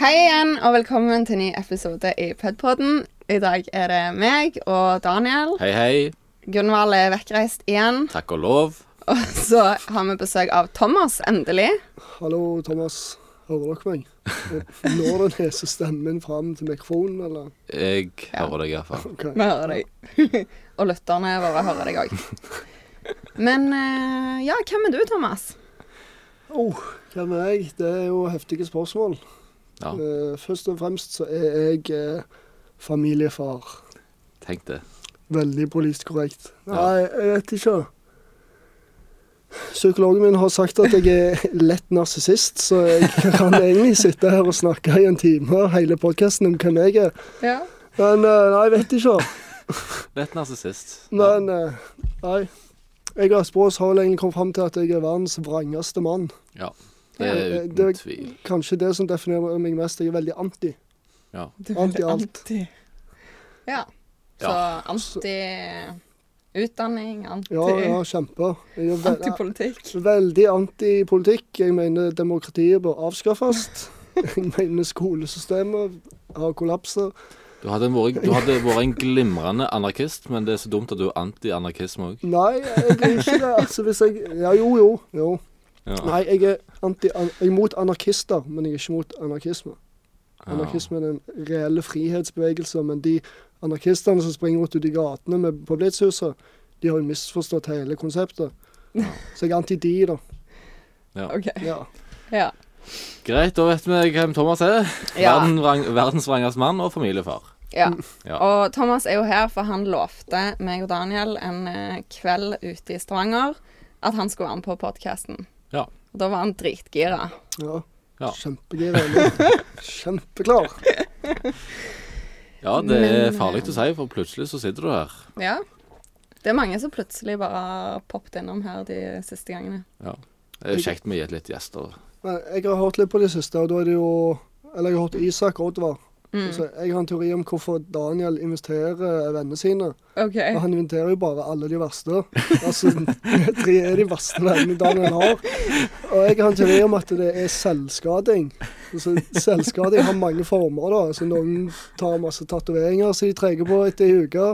og velkommen til en ny episode i Pedpodden. I dag er det meg og Daniel. Hei, hei. Gunvald er vekkreist igjen. Takk og lov. Og så har vi besøk av Thomas, endelig. Hallo, Thomas. Hører dere meg? Når den hese stemmen fram til mikrofonen, eller? Jeg Ja. hører deg iallfall. Ok. Vi hører deg. og lytterne våre hører deg òg. Men eh, ja, hvem er du, Thomas? Oh, hvem er jeg? Det er jo heftige spørsmål. Ja, Eh, først og fremst så er jeg eh, familiefar. tenk det. Veldig politisk korrekt. Ja. Nei, jeg vet ikke. Psykologen min har sagt at jeg er lett narsissist, så jeg kan egentlig sitte her og snakke i en time hele podkasten om hvem jeg er. Ja. Men eh, nei, jeg vet ikke. Lett narsissist. Men eh, nei. Jeg og Aspås har vel egentlig kommet fram til at jeg er verdens vrangeste mann. Ja, det er Ja, uten det- tvil. Kanskje det som definerer meg mest. Jeg er veldig anti. Ja. Du Alt i er alt. anti. Ja. Så anti-utdanning, anti... Ja, ja, kjempe. Jeg er ve Antipolitikk. veldig anti politikk. Jeg mener demokratiet bør avskaffes. Jeg mener skolesystemet har kollapset. Du hadde, en vært, du hadde vært en glimrende anarkist, men det er så dumt at du er anti-anarkisme òg. Nei, jeg er ikke det. Altså, hvis jeg Ja, jo, jo. jo. Ja. Nei, jeg er, anti an jeg er mot anarkister, men jeg er ikke mot anarkisme. Anarkismen er en reell frihetsbevegelse, men de anarkistene som springer rundt ute i gatene med, på Blitzhuset, de har jo misforstått hele konseptet. Så jeg er anti de, da. Ja. OK. Ja. Ja. Greit, da vet vi hvem Thomas er. Ja. Verden, vrang, verdens vrangeste mann og familiefar. Ja. Ja. Og Thomas er jo her, for han lovte meg og Daniel en eh, kveld ute i Stavanger at han skulle være med på podkasten. Ja. Og da var han dritgira. ja. Ja. Kjempegira. eller? Kjempeklar. Ja, det Men, er farlig å si, for plutselig så sitter du her. Ja. Det er mange som plutselig bare har poppet innom her de siste gangene. Ja. Det er kjekt med litt gjester. Men jeg har hørt litt på det siste, og da er det jo Eller jeg har hørt Isak Oddvar. Mm. Så jeg har en teori om hvorfor Daniel inviterer vennene sine. OK. Og han inviterer jo bare alle de verste. Altså, tre er de verste vennene Daniel har. Og jeg har en teori om at det er selvskading. Altså, selvskading har mange former, da. Altså, noen tar masse tatoveringer som de trenger på etter ei uke.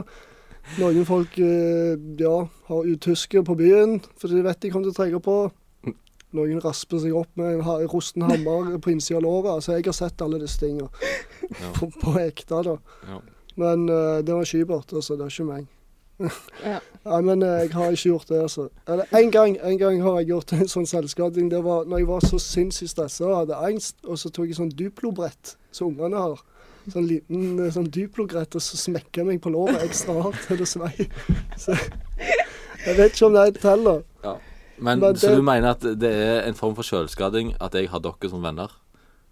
Noen folk eh, ja, har utyske på byen fordi de vet de kommer til å trenge på. Noen rasper seg opp med en ha- rusten hammer på innsida av låret. Altså, jeg har sett alle disse tinga på, på ekte, da. Ja. Men eh, det var skybart, altså. Det er ikke meg. Ja. Nei, men eh, jeg har ikke gjort det, altså. Eller en gang, en gang har jeg gjort en sånn selvskading. Det var når jeg var så sinnssykt stressa og hadde angst, og så tok jeg sånn Duplo-brett som ungene har. Sånn liten eh, sånn Duplo-brett, og så smekka jeg meg på låret ekstra hardt til det svei. Så jeg vet ikke om det teller. Men, Men Så det- du mener at det er en form for sjølskading at jeg har dere som venner?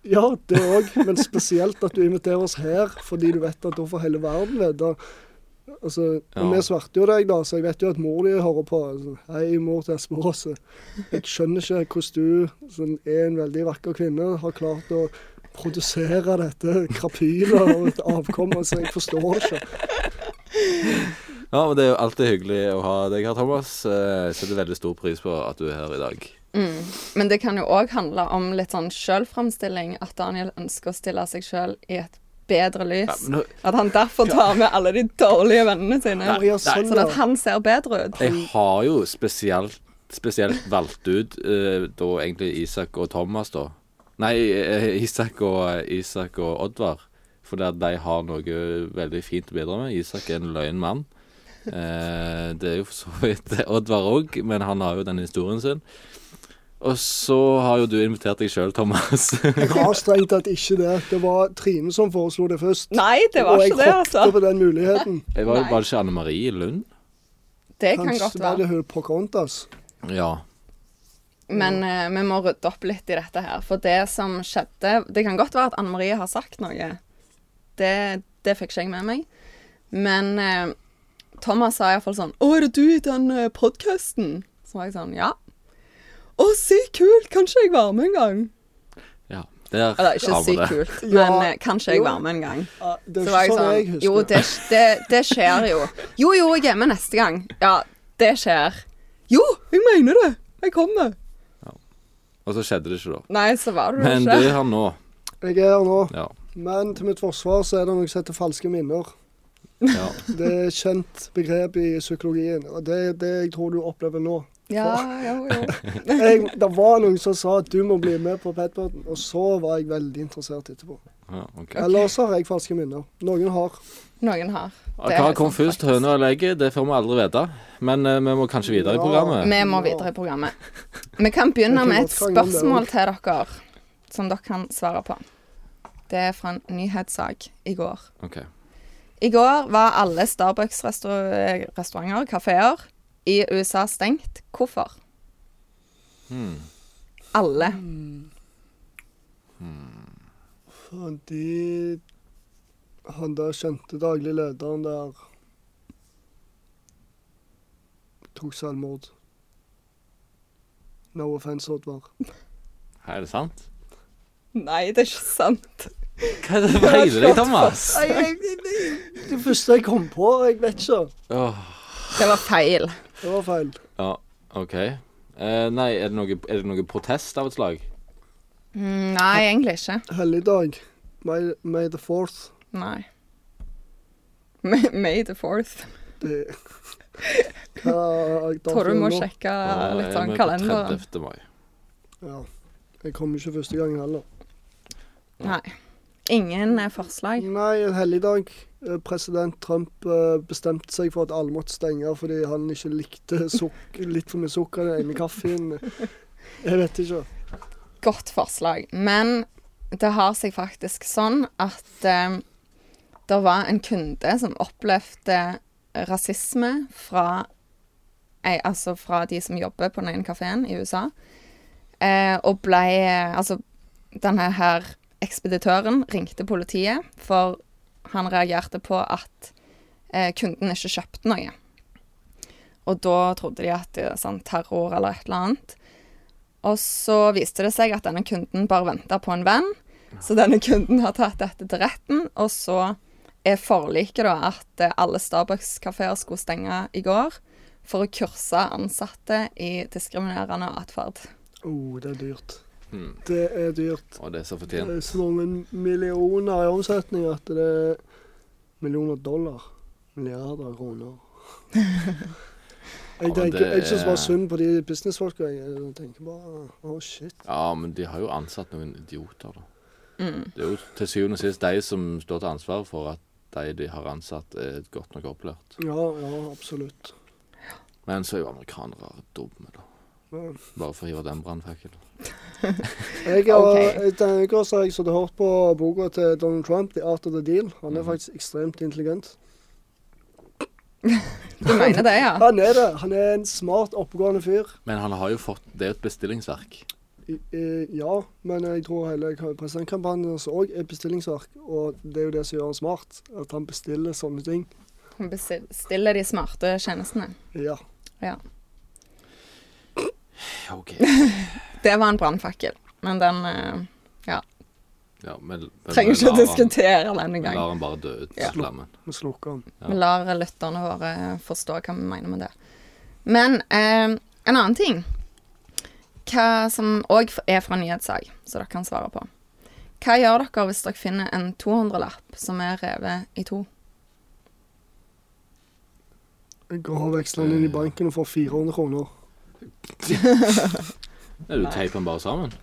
Ja, det òg, men spesielt at du inviterer oss her, fordi du vet at da får hele verden vite. Altså, og Ja. Vi svarte jo deg, da, så jeg vet jo at mor di hører på. Altså, Hei, mor til Espen Aase. Jeg skjønner ikke hvordan du, som er en veldig vakker kvinne, har klart å produsere dette krapylet og et avkom. Altså, jeg forstår det ikke. Ja, men Det er jo alltid hyggelig å ha deg her, Thomas. Eh, Jeg setter veldig stor pris på at du er her i dag. Mm. Men det kan jo òg handle om litt sånn sjølframstilling. At Daniel ønsker å stille seg sjøl i et bedre Ja, lys. men nå, At han derfor tar med alle de dårlige vennene sine. Ja, sånn, Sånn ja. at han ser bedre ut. jeg har jo spesielt, spesielt valgt ut eh, da egentlig Isak og Thomas, da. Nei, eh, Isak og, Isak og Oddvar. For det at de har noe veldig fint å bidra med. Isak er en løgn mann. Eh, det er jo for så vidt Oddvar òg, men han har jo den historien sin. Og så har jo du invitert deg sjøl, Thomas. Jeg har strengt tatt ikke det. Det var Trine som foreslo det først. Nei, det var ikke det, Og jeg hoppet altså. på den muligheten. Jeg var, Nei. var det ikke Anne Marie Lund? Det kan godt Kanskje var være. det hun Pocahontas. Ja. Men eh, vi må rydde opp litt i dette her. For det som skjedde Det kan godt være at Anne Marie har sagt noe. Det, det fikk ikke jeg med meg. Men eh, Thomas sa iallfall sånn 'Å, er det du i den eh, podkasten?' Så var jeg sånn 'Ja'. 'Å, sykt kult! Kanskje jeg var med en gang?' ja. Der Eller ikke har vi sykt det. kult, Ja, men eh, kanskje jeg jo. var med en gang. Ja, Så Det er var ikke jeg sånn jeg sånn husker. Jo, det, det, det skjer jo. Jo, jo, jeg er med neste gang. Ja, det skjer. Jo, jeg mener det. Jeg kommer. Og så skjedde det ikke, da. Nei, så var det jo Men du ikke. er her nå. Jeg er her nå. Ja. Men til mitt forsvar så er det noe som heter falske minner. Ja. Det er et kjent begrep i psykologien, og det er det jeg tror du opplever nå. Ja, jo, jo. Jeg, det var noen som sa at du må bli med på Petbird, og så var jeg veldig interessert etterpå. ja ok. Ellers har jeg falske minner. Noen har. Noen har. Det er Hva kom sant, først, faktisk. høna eller egget? Det får vi aldri vite. Men eh, vi må kanskje videre i Ja. programmet. Vi må videre i programmet. Vi kan begynne med et spørsmål til dere, som dere kan svare på. Det er fra en nyhetssak i går. Ok. I går var alle Starbucks-restauranter og kafeer i USA stengt. Hvorfor? Hmm. Alle. Mm. Hmm. Fordi han der kjente daglig lederen der tok selvmord. No offense, Oddvar. Er det sant? Nei, det er ikke sant. Hva er det som feiler deg, Thomas? Nei, jeg- jeg- Det første jeg kom på, jeg vet ikke. Åh, Det var feil. Det var feil. ja, OK. Eh, nei, er det, noe, er det noe protest av et slag? Mm, Nei, egentlig ikke. Helligdag. May, May the fourth. Nei. May May the fourth. Det Hva er Tror du må datoen nå? sjekke Eller litt er vi sånn på kalenderen. 30. mai. Ja. Jeg kom ikke første gangen heller. Nei. Ingen eh, forslag. Nei, en helligdag. Eh, President Trump eh, bestemte seg for at alle måtte stenge fordi han ikke likte suk litt for mye sukker i den ene kaffen. Jeg vet ikke. godt forslag, men det har seg faktisk sånn at eh, det var en kunde som opplevde rasisme fra ei, altså fra de som jobber på den ene kafeen i USA, eh, og ble eh, Altså, denne her ekspeditøren ringte politiet, for han reagerte på at eh, kunden ikke kjøpte noe. Og da trodde de at det er sånn terror eller et eller annet. Og så viste det seg at denne kunden bare venta på en venn. Så denne kunden har tatt dette til retten, og så er forliket da at eh, alle Starbucks-kafeer skulle stenge i går for å kurse ansatte i diskriminerende atferd. Oh, det er dyrt. Hmm. Det er dyrt. Og det er så Det fortjent. er så mange millioner i omsetning at det er millioner dollar. Milliarder kroner. Ja, Jeg men tenker, det jeg syns det er- var synd på de businessfolka. Jeg tenker bare Å, shit. Ja, men de har jo ansatt noen idioter, da. Mm. Det er jo til syvende og sist de som står til ansvar for at de de har ansatt, er godt nok opplært. Ja, ja, absolutt. Men så er jo amerikanere dumme, da. Ja. Bare for å hive den brannfakkelen. Jeg har, Ok. Denne uka så har jeg sittet og hørt på boka til Donald Trump, 'The Art of the Deal'. Han er Mhm. faktisk ekstremt intelligent. Du mener det, ja? Han er det. Han er en smart, oppegående fyr. Men han har jo fått Det er jo et bestillingsverk. I, i, ja, men jeg tror hele ka- presidentkampanjen hans òg er bestillingsverk. Og det er jo det som gjør han smart, at han bestiller sånne ting. Hun bestiller de smarte tjenestene. Ja. Ja, OK. Det var en brannfakkel, men den eh, Ja, men, men trenger vi ikke å lar han- diskutere den vi engang. Lar han bare dø ut, Ja. flammen. Vi slukker han. Ja. Vi lar eh, lytterne våre eh, forstå hva vi mener med det. Men eh, en annen ting Hva som òg er fra nyhetssak, så dere kan svare på. Hva gjør dere hvis dere finner en 200-lapp som er revet i to? Jeg går og veksler han inn i banken og får 400 kroner. Nei, du teiper den bare sammen.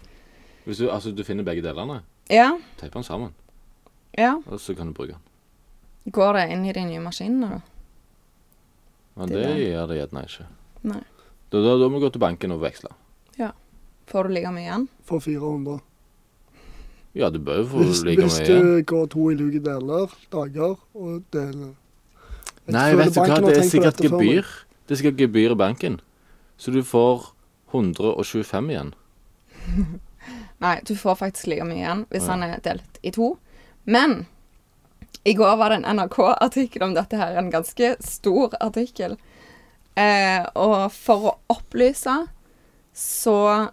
Hvis du, altså, du finner begge delene, Ja, teiper den sammen, ja. og så kan du bruke den. Går det inn i de nye maskinene, da? Men Det det, er det. gjør det gjerne ikke. Nei. Da, da, da må du gå til banken og veksle. Får du like mye igjen? For 400. Ja, du bør jo få Hvis, like hvis mye du igjen. går to i like deler, dager, og deler. Jeg Nei, føler vet du hva, banken har det er tenkt på sikkert dette før, men- gebyr. Det er sikkert gebyr i banken. Så du får 125 igjen. Nei, du får faktisk like mye igjen hvis Å, ja. han er delt i to. Men i går var det en NRK-artikkel om dette her, en ganske stor artikkel. Eh, og for å opplyse, så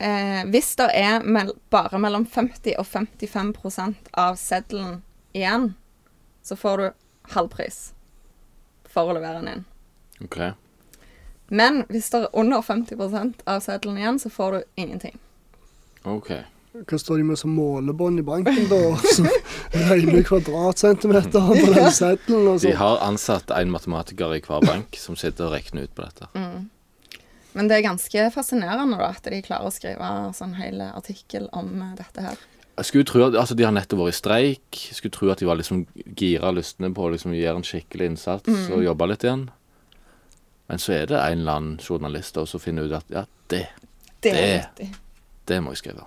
eh, Hvis det er mel bare mellom 50 og 55 av seddelen igjen, så får du halv pris for å levere den inn. OK. Men hvis det er under 50 av seddelen igjen, så får du ingenting. ok. Hva står de med som målebånd i banken, da? Og så regner du kvadratcentimeter på den seddelen. altså. Og De så. har ansatt en matematiker i hver bank som sitter og regner ut på dette. Mm. Men det er ganske fascinerende da, at de klarer å skrive sånn hel artikkel om eh, dette her. Jeg skulle tro at, altså De har nettopp vært i streik. Jeg skulle tro at de var liksom gira og lystne på å liksom gjøre en skikkelig innsats Mm. og jobbe litt igjen. Men så er det en eller annen journalist da som finner ut at ja, det, Det er Det- nyttig. det må jeg skrive.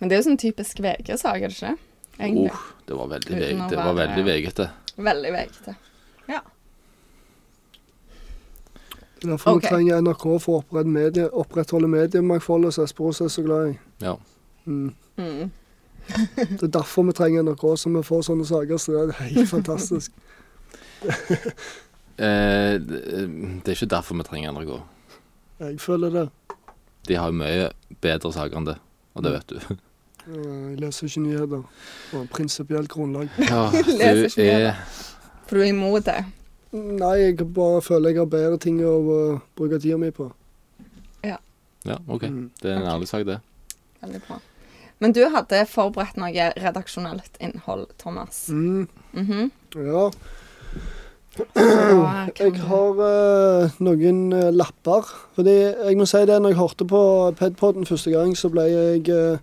Men det er jo sånn typisk VG-sak, er det ikke? det? Egentlig. Uh, det var veldig Uten veg- å det var være- veldig vegete. Veldig vegete. Ja. Det er Derfor vi Ok. trenger NRK for å opprette medie, opprettholde mediemangfoldet som Esperos er så glad i. Ja. Mm. Mm. Det er derfor vi trenger NRK, så vi får sånne saker. Så det er helt fantastisk. Eh, det, det er ikke derfor vi trenger NRK. Jeg føler det. De har jo mye bedre saker enn det, og Mm. det vet du. Eh, Jeg leser ikke nyheter på prinsipielt grunnlag. Ja, Leser du ikke mer, er For du er imot det. Nei, jeg bare føler jeg har bedre ting å eh, bruke tida mi på. Ja, OK. Mm. Det er en ærlig sak, det. Veldig bra. Men du hadde forberedt noe redaksjonelt innhold, Thomas. Mm. Mhm. Ja. Så da kan Jeg du- har eh, noen eh, lapper. Fordi jeg må si det, når jeg hørte på Pedpoden første gang, så ble jeg, eh,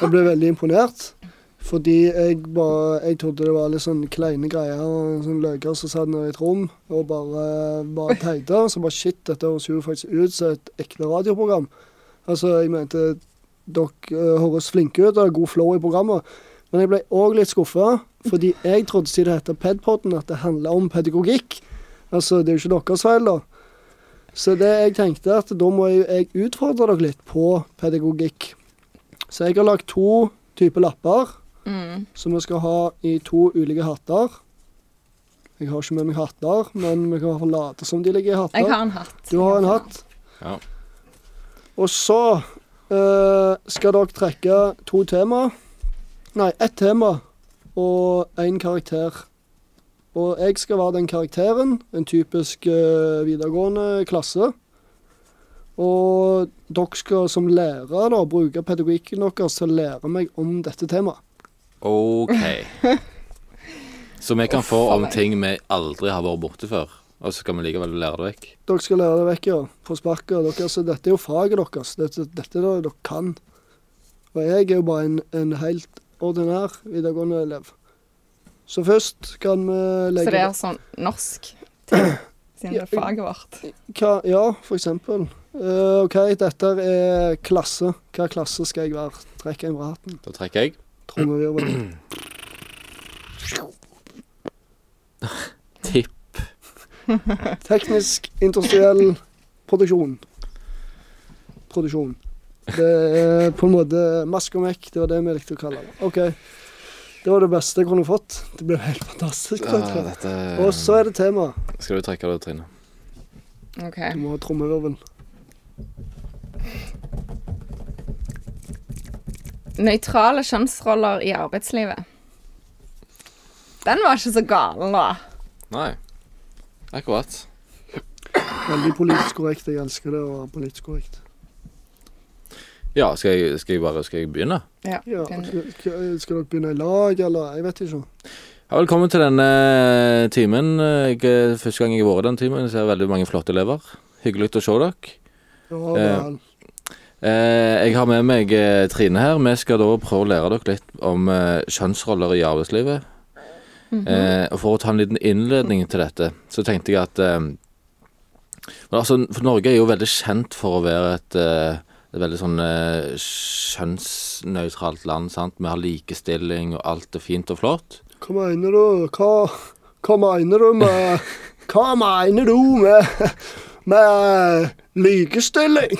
jeg ble veldig imponert. Fordi jeg, bare, jeg trodde det var litt sånn kleine greier, og sånn løker som satt nede i et rom og bare, bare teite. Så bare shit, dette høres jo faktisk ut som et ekte radioprogram. Altså, jeg mente dere eh, høres flinke ut, og det er god flow i programmet. Men jeg ble òg litt skuffa, fordi jeg trodde siden det heter Pedpoden, at det handla om pedagogikk. Altså, det er jo ikke deres feil, da. Så det jeg tenkte, at da må jeg, jeg utfordre dere litt på pedagogikk. Så jeg har lagd to typer lapper Mm. som vi skal ha i to ulike hatter. Jeg har ikke med meg hatter, men vi kan i hvert fall late som de ligger i hatter. Jeg har en hatt. Du har en hatt. Ja. Og så eh, skal dere trekke to tema. Nei, ett tema og én karakter. Og jeg skal være den karakteren. En typisk eh, videregående klasse. Og dere skal som lærere da, bruke pedagogikken deres til å lære meg om dette temaet. OK. Så vi kan få Å, om faen. ting vi aldri har vært borte før, og så skal vi likevel lære det vekk. Dere skal lære det vekk, ja. På sparket. Dere, altså, dette er jo faget deres. Dette, dette er det dere kan. Og jeg er jo bare en, en helt ordinær videregående elev. Så først kan vi Så legge det er sånn norsk ting, siden det er faget vårt. Hva, Ja, for eksempel. Eh, OK, dette er klasse. Hva klasse skal jeg være? Trekk en bra hatten. Da trekker jeg. Trommevirvel. Tipp. Teknisk, industriell produksjon. Produksjon. Det er på en måte mask og mekk, det var det vi likte å kalle det. OK. Det var det beste jeg kunne fått. Det ble helt fantastisk. Ja, dette. dette Og så er det tema. Eh, Skal du trekke det, Trine? OK. Du må ha trommevirvel. Nøytrale kjønnsroller i arbeidslivet. Den var ikke så galen, da. Nei. Akkurat. Veldig politisk korrekt. Jeg elsker det å være politisk korrekt. Ja, skal jeg, skal jeg bare skal jeg begynne? Ja. Ja, den- skal skal dere begynne i lag, eller? Jeg vet ikke. Ja, velkommen til denne eh, timen. Jeg, eh, første gang jeg har vært i den timen. Jeg ser veldig mange flotte elever. Hyggelig å se dere. Ja, Eh, vel. Eh, jeg har med meg eh, Trine her. Vi skal da prøve å lære dere litt om eh, kjønnsroller i arbeidslivet. eh, og For å ta en liten innledning til dette, så tenkte jeg at eh, men altså, For Norge er jo veldig kjent for å være et, eh, et veldig sånn eh, kjønnsnøytralt land. sant? Vi har likestilling, og alt er fint og flott. Hva mener du? Hva, hva mener du med Hva mener du med, med likestilling?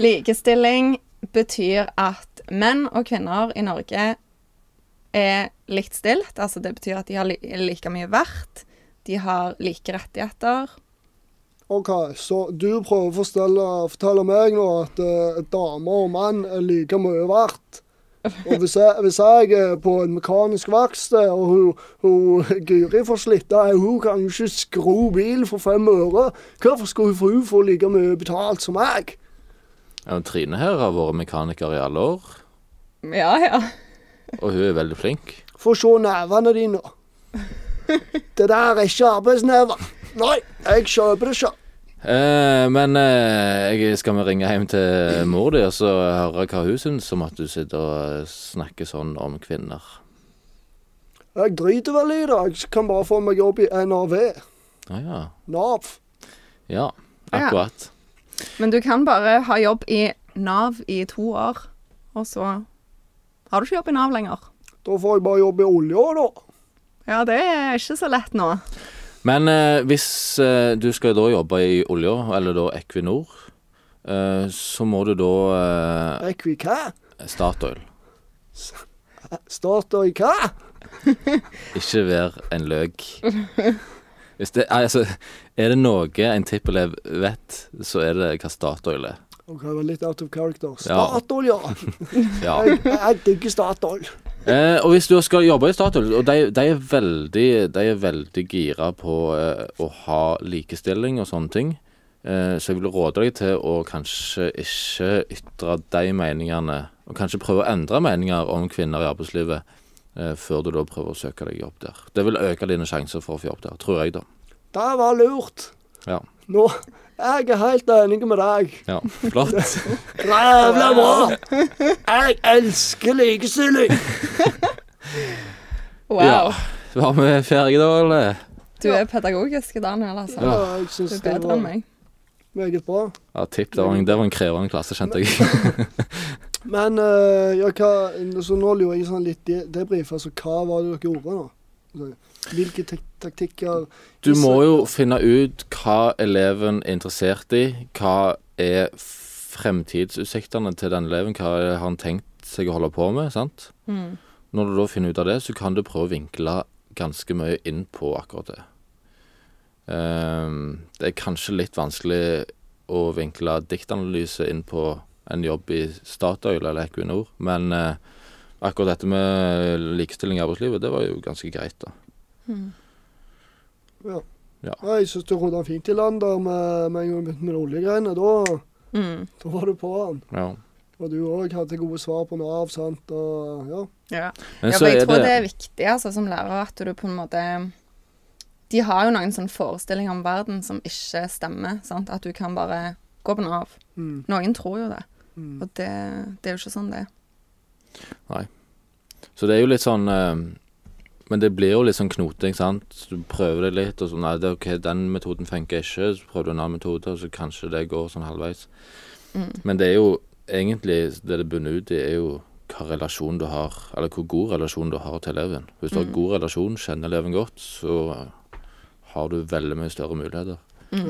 Likestilling betyr at menn og kvinner i Norge er likt stilt. Altså det betyr at de har li like mye verdt. De har like rettigheter. OK, så du prøver å fortelle, fortelle meg nå at eh, damer og mann er like mye verdt. Og hvis jeg, hvis jeg er på en mekanisk verksted, og hun, hun Guri får slitte Hun kan jo ikke skru bil for fem øre. Hvorfor skal hun få, hun få like mye betalt som meg? Ja, men Trine her har vært mekaniker i alle år. Ja, ja. Og hun er veldig flink. Få se nevene dine. Det der er ikke arbeidsnever. Nei, jeg kjøper det ikke. Eh, men eh, jeg skal vi ringe hjem til mor di og så høre hva hun syns om at du sitter og snakker sånn om kvinner. Jeg driter vel i det. Jeg kan bare få meg jobb i NAV. Ah, ja. Nav. ja, akkurat. Men du kan bare ha jobb i Nav i to år, og så har du ikke jobb i Nav lenger. Da får jeg bare jobb i olja, da. Ja, det er ikke så lett nå. Men eh, hvis eh, du skal da jobbe i olja, eller da Equinor, eh, så må du da eh, Rekvi hva? Statoil. Starter i hva? Ikke vær en løk. Hvis det, altså, er det noe en tippelev vet, så er det hva Statoil er. Ok, det var litt out of character. Ja. Statoil, ja. Ja. Jeg, jeg digger Statoil. Eh, og hvis du skal jobbe i Statoil, og de, de er veldig De er veldig gira på eh, å ha likestilling og sånne ting, eh, så jeg vil råde deg til å kanskje ikke ytre de meningene, og kanskje prøve å endre meninger om kvinner i arbeidslivet, eh, før du da prøver å søke deg jobb der. Det vil øke dine sjanser for å få jobb der, tror jeg, da. Det var lurt. Ja. Nå Jeg er helt enig med deg. ja. Flott. Rævla bra! Jeg elsker likestilling! Wow. Ja. Var vi ferdige da, eller? Du er pedagogisk, Daniel, altså. Ja, jeg Du syns er det bedre enn var meg. meget bra. Ja, tipp. Det var en, det var en krevende klasse, kjente jeg. Men eh, ja, hva, så nå lurer jeg sånn litt de- debrief. Altså, hva var det dere gjorde nå? Altså, Hvilke tek taktikker Du må jo finne ut hva eleven er interessert i. Hva er fremtidsutsiktene til den eleven? Hva har han tenkt seg å holde på med? sant? Mm. Når du da finner ut av det, så kan du prøve å vinkle ganske mye inn på akkurat det. Ehm, det er kanskje litt vanskelig å vinkle diktanalyse inn på en jobb i Statoil eller Equinor, men eh, akkurat dette med likestilling i arbeidslivet, det var jo ganske greit, da. Mm. Ja. Ja. Ja, jeg syns du rodde fint i land der med, med en gang du begynte med de oljegreiene. Da, Mm. da var du på han. Ja. Og du òg hadde gode svar på Nav, sant. Og ja. Ja. Men ja, så for jeg er tror det... det er viktig altså, som lærer at du på en måte De har jo noen sånn forestillinger om verden som ikke stemmer. Sant? At du kan bare gå på Nav. Mm, Noen tror jo det, mm. og det, det er jo ikke sånn det er. Så det er jo litt sånn eh, Men det blir jo litt sånn knoting, sant. Du prøver det litt, og så nei, det er OK, den metoden funker ikke. Så prøver du en annen metode, og så kanskje det går sånn halvveis. Mm. Men det er jo egentlig det det bunner ut i, er jo hva relasjon du har, eller hvor god relasjon du har til eleven. Hvis du Mm. har god relasjon, kjenner eleven godt, så har du veldig mye større muligheter. Ja,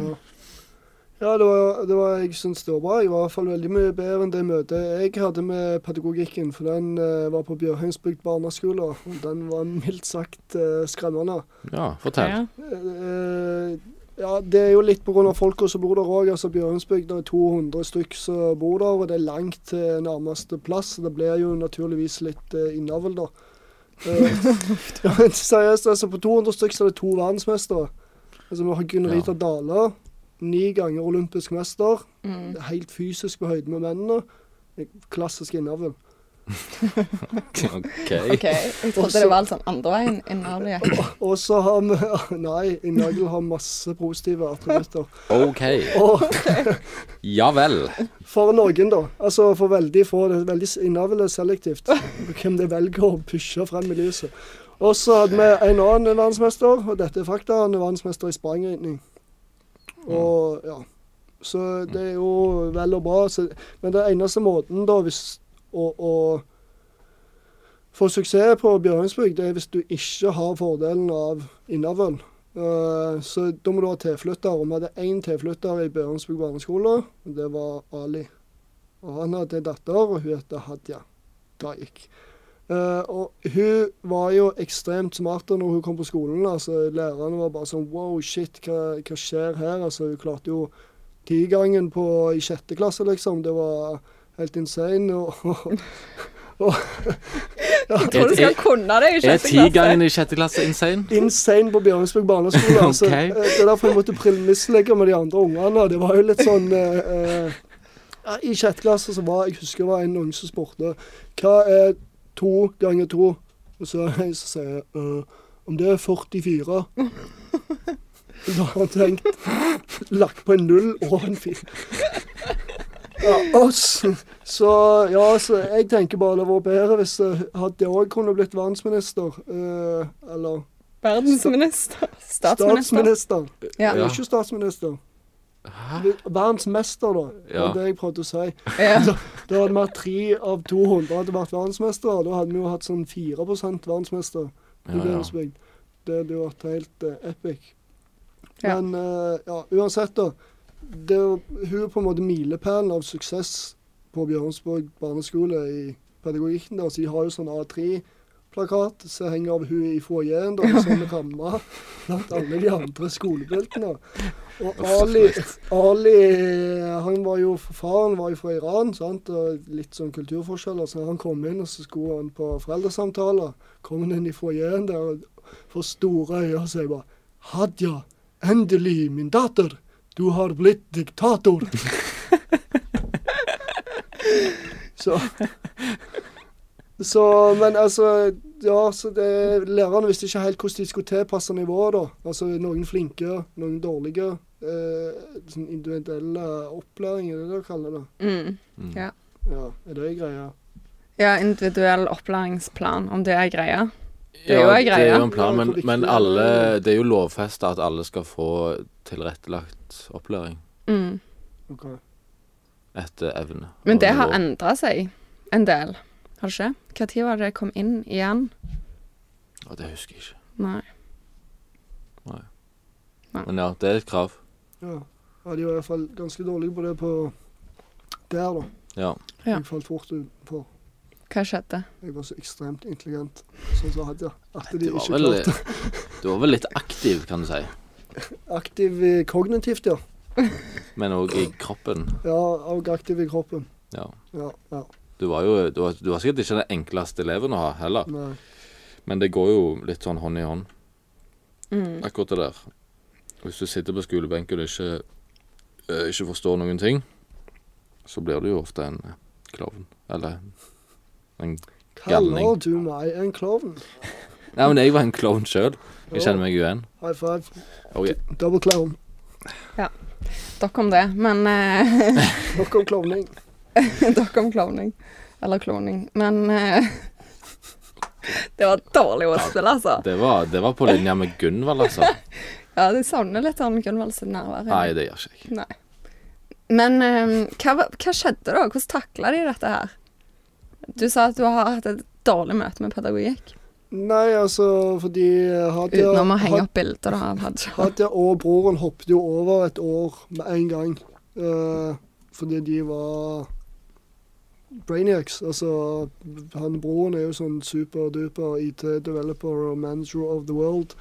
ja det, var, det var jeg syns det var bra. Jeg var i hvert fall veldig mye bedre enn det møtet jeg hadde med pedagogikken. For den eh, var på Bjørheimsbygd barneskole, og den var mildt sagt eh, skremmende. Ja, fortell. Eh, ja, det er jo litt pga. folka som bor der òg. Altså Bjørheimsbygd det er 200 stykk som bor der, og det er langt til nærmeste plass. Så det blir jo naturligvis litt eh, innavl, da. Eh, ja, men seriøst, altså på 200 stykk så er det to verdensmestere. Altså vi har Gunn Rita Dale, ni ganger olympisk mester. Mm. Helt fysisk på høyde med mennene. Klassisk innavl. OK. OK. Jeg trodde Også- det var litt sånn andre veien innover det gikk. Og så har vi Nei, innavl har masse positive attributter. OK. Og Ja vel. For noen, da. Altså for veldig få. Det er veldig innavlet selektivt hvem de velger å pushe frem i lyset. Og så hadde vi en annen verdensmester, og dette er fakta. Han er verdensmester i sprangridning. Og ja. Så det er jo vel og bra. Så, men den eneste måten da hvis å, å få suksess på Bjørhønsbygd, det er hvis du ikke har fordelen av innavl. Eh, så da må du ha tilflytter. Og vi hadde én tilflytter i Bjørnsbygd barneskole, og det var Ali. Og han hadde en datter, og hun het Hadia Daik. Eh, og hun var jo ekstremt smart når hun kom på skolen. altså Lærerne var bare sånn Wow, shit, hva, hva skjer her? Altså, hun klarte jo tigangen på- i sjette klasse, liksom. Det var helt insane. Og, og, Jeg tror du skal kunne det i Er sjette ti klasse. gangen i sjette klasse insane? insane på Bjørnsberg barneskole. altså, Ok. eh, Det er derfor jeg måtte premisslegge med de andre ungene. Det var jo litt sånn eh, eh, ja, I sjette klasse så var jeg husker det var en unge som spurte hva er to ganger to? Og så er jeg som sier jeg, «Øh, om det er 44. Da har han tenkt lagt på en null og en fire. Ja, og så, så ja, så jeg tenker bare det var bedre hvis jeg hadde òg kunne blitt verdensminister. eh, eller Verdensminister. Statsminister. statsminister. Ja. Jeg er ikke statsminister. Verdensmester, da. Det Ja. var det jeg prøvde å si. Ja. Da hadde vi hatt tre av 200 hadde vært verdensmestere. Da hadde vi jo hatt sånn 4 verdensmester i Ja, ja. Bjørnsbygd. Det hadde jo vært helt eh, epic. Ja. Men eh, ja, uansett, da. Det, hun er på en måte milepælen av suksess på Bjørnsborg barneskole i pedagogikken. Der. Så de har jo sånn A3-plakat som henger av hun i foajeen, da, i sånn ramme blant alle de andre skolebeltene. Og Uff, Ali, så Ali han var jo, Faren var jo fra Iran, sant? og litt sånn kulturforskjeller. Så når han kom inn, og så skulle han på foreldresamtaler. Kom han inn i foajeen der og får store øyne og sier bare Hadia, endelig, min datter. Du har blitt diktator. så Så, men altså Ja, så det Lærerne visste ikke helt hvordan de skulle tilpasse nivået, da. Altså noen flinke, noen dårlige. Eh, sånn individuelle opplæring, er det det du kaller det? Mm. Mm. Ja. Ja, er det greia? ja, individuell opplæringsplan, om det er greia. Det er Ja, jo en greie. Det er jo en plan, Ja, men, hvor viktig men det er. alle, det er jo lovfesta at alle skal få tilrettelagt opplæring Mm. Ok. etter evne. Men og det har nivå. endra seg en del, har det ikke? Når var det det kom inn igjen? Og det husker jeg ikke. Nei. Men ja, det er et krav. Ja. ja, de var i hvert fall ganske dårlige på det på der, da. Ja. Ja. Jeg falt fort utenfor. Hva skjedde? Jeg var så ekstremt intelligent, sånn som Hadia, at de Du var ikke vel, klarte du var vel litt aktiv, kan du si. Aktiv eh, kognitivt, ja. Men òg i kroppen. Ja, og aktiv i kroppen. Ja. Ja, ja. Du var jo du var, du var sikkert ikke den enkleste eleven å ha heller, Nei. men det går jo litt sånn hånd i hånd, Mm. akkurat det der. Hvis du sitter på skolebenken og ikke, eh, ikke forstår noen ting, så blir du jo ofte en eh, klovn. Eller en Kaller Galning. du meg en klovn? Nei, men jeg var en klovn sjøl. Jeg kjenner meg igjen. High five. Oh, yeah. Double clown. Dere om det, men eh, Nok om klovning. Dere om klovning. Eller kloning. Men eh, Det var dårlig ordspill, altså. det, var, det var på linje med Gunvald, altså. Ja, de savner litt sånn Gunvald sitt nærvær. Nei, det gjør ikke jeg. Nei. Men eh, hva, var- hva skjedde da? Hvordan takla de dette her? Du sa at du har hatt et dårlig møte med pedagogikk. Nei, altså, fordi Hadia Utenom å henge Had- opp bilder da, av Hadia. Hadia og broren hoppet jo over et år med en gang. eh, fordi de var brainiacs. Altså, han broren er jo sånn superduper IT-developer og manager of the world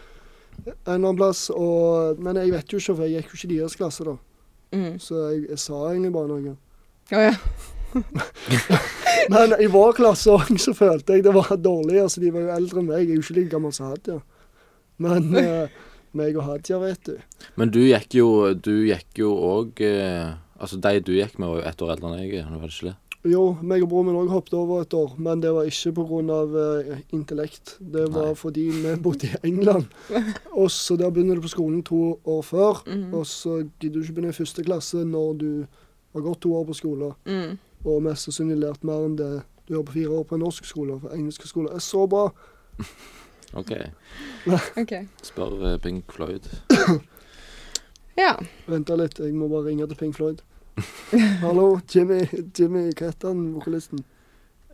en eller annen plass. Og, men jeg vet jo ikke, for jeg gikk jo ikke i deres klasse, da. Mm. Så jeg, jeg sa egentlig bare noe. Å ja. Men i vår klasse også, så følte jeg det var dårlig. Altså, de var jo eldre enn meg. Jeg er jo ikke like gammel som Hadia. Men eh, meg og Hadia, vet du. Men du gikk jo Du gikk jo òg eh, Altså, de du gikk med, var jo ett år eldre enn jeg. Var det ikke det? Jo, meg og broren min òg hoppet over et år, men det var ikke pga. Uh, intellekt. Det var Nei. fordi vi bodde i England. Og så der begynner du på skolen to år før, Mhm. og så gidder du ikke begynne i første klasse når du har gått to år på skole Mm. og mest sannsynlig lært mer enn det du gjør på fire år på en norsk skole. For engelske skoler er så bra. OK. OK. Spør eh, Pink Floyd. Ja. Vent litt, jeg må bare ringe til Pink Floyd. Hallo, Jimmy, Jimmy hva heter han, vokalisten?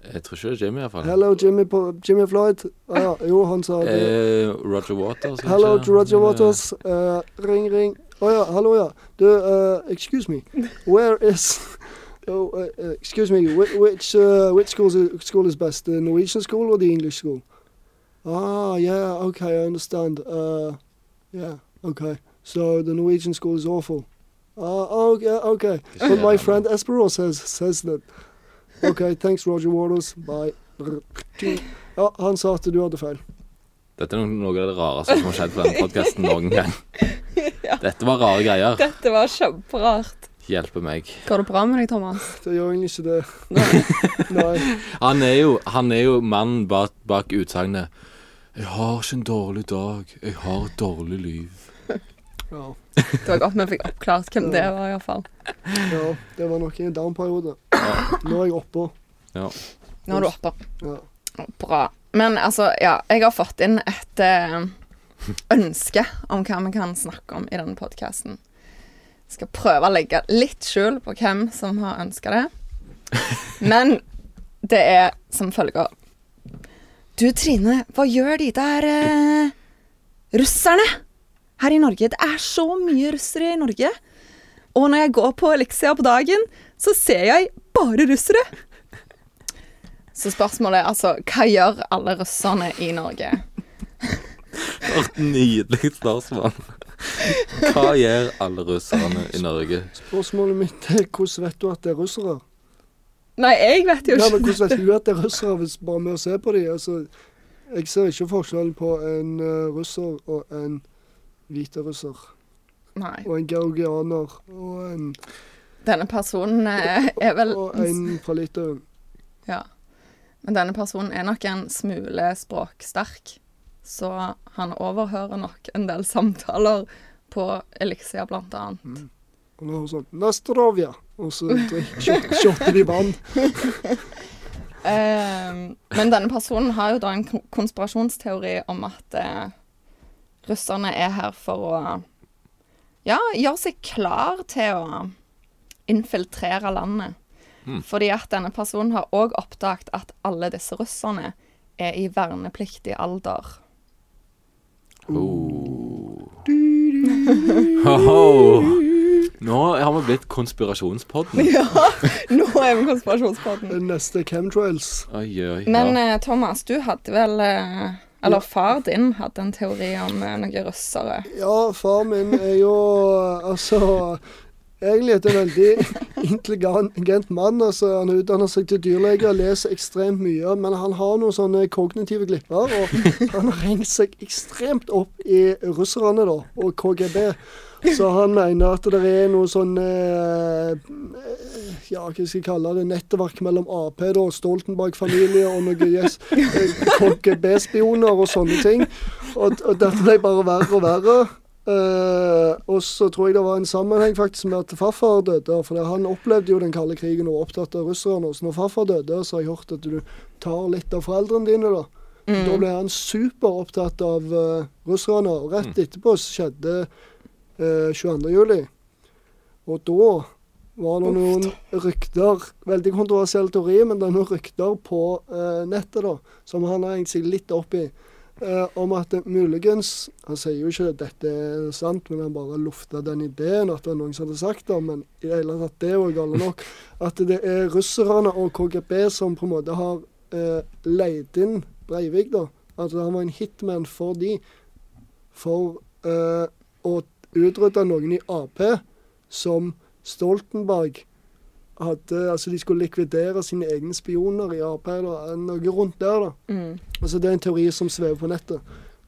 Jeg tror ikke det er Jimmy, iallfall. Hello, Jimmy, på- Jimmy Floyd. Ah, ja, jo, han sa det. Eh, Roger Waters, kanskje? Hello, Roger eh, Waters. Uh, ring, ring. Å ja, hallo, ja. Du, uh, excuse me. Where is oh, uh, uh, Excuse me, whi- which, uh, which school, is, school is best? The Norwegian school or the English school? Ah, yeah, okay, I understand. Uh, yeah, okay. So the Norwegian school is awful. Uh, oh, yeah, okay. Ikke But my det, friend Espero says, says that. Okay, thanks, Roger Waters. Bye. Ja, han sa at du hadde feil. Dette er no- noe av det rareste som har skjedd på denne podkasten noen gang. Dette var rare greier. Dette var kjemperart. Hjelpe meg. Går det bra med deg, Thomas? Det gjør egentlig ikke det. Nei. Han er jo, han er jo mannen bak, bak utsagnet 'Jeg har ikke en dårlig dag, jeg har et dårlig liv'. Ja. Det var godt vi fikk oppklart hvem det var, iallfall. ja. Det var nok i en down-periode. Nå er jeg oppå. Ja. Nå er du oppe. Ja. Bra. Men altså, ja. Jeg har fått inn et eh, ønske om hva vi kan snakke om i denne podkasten. Skal prøve å legge litt skjul på hvem som har ønska det. Men det er som følger. Du Trine, hva gjør de der eh, russerne her i Norge? Det er så mye russere i Norge. Og når jeg går på Elixia på dagen, så ser jeg bare russere. Så spørsmålet er altså hva gjør alle russerne i Norge? For et nydelig spørsmål. Hva gjør alle russerne i Norge? Spørsmålet mitt er hvordan vet du at det er russere? Nei, jeg vet jo Ja, men ikke. hvordan vet du at det er russere hvis bare med å se på dem? Altså, jeg ser ikke forskjell på en eh, russer og en hviterusser. Nei. Og en georgianer. Og en, Denne personen eh, er vel og en fra Litauen. Ja. Men denne personen er nok en smule språksterk, så han overhører nok en del samtaler på Elixia, blant annet. Og nå er hun sånn Nastrovia! Og så drikk- shot- shotter de vann. Eh, men denne personen har jo da en kon- konspirasjonsteori om at eh, russerne er her for å ja, gjøre seg klar til å infiltrere landet. Mm. Fordi at denne personen har òg oppdaget at alle disse russerne er i vernepliktig alder. Oh. Ho-ho. Nå har vi blitt konspirasjonspodden. Ja, nå er vi konspirasjonspodden. Den neste er chemtrails. Oi, oi, Men eh, ja. Thomas, du hadde vel eh, Eller far din hadde en teori om eh, noen russere. Ja, far min er jo eh, altså Egentlig et veldig intelligent mann. altså Han utdanner seg til dyrlege og leser ekstremt mye. Men han har noen sånne kognitive glipper, og han har hengt seg ekstremt opp i russerne da, og KGB. Så han mener at det er noe sånn eh, Ja, hva skal jeg kalle det? Nettverk mellom Ap da, og Stoltenberg-familie og noen yes, KGB-spioner og sånne ting. Og, og dette ble bare verre og verre. Eh, og så tror jeg det var en sammenheng faktisk med at farfar døde. For det- han opplevde jo den kalde krigen og var opptatt av russerne. Så når farfar døde, så har jeg hørt at du tar litt av foreldrene dine, da. Mm. Da ble han superopptatt av eh, russerne. Og rett etterpå så skjedde eh, 22. juli. Og da var det noen rykter Veldig kontroversiell teori, men det er noen rykter på eh, nettet, da, som han har hengt seg litt opp i eh, om at det muligens Han sier jo ikke at dette er sant, men han bare lufta den ideen at det var noen som hadde sagt det, men i det hele tatt det er jo galt nok. At det er russerne og KGB som på en måte har eh, leid inn Breivik, da. At han var en hitman for de. For eh, å utrydde noen i Ap som Stoltenberg hadde Altså de skulle likvidere sine egne spioner i Ap, da. Noe rundt der, da. Mm. Altså, det er en teori som svever på nettet.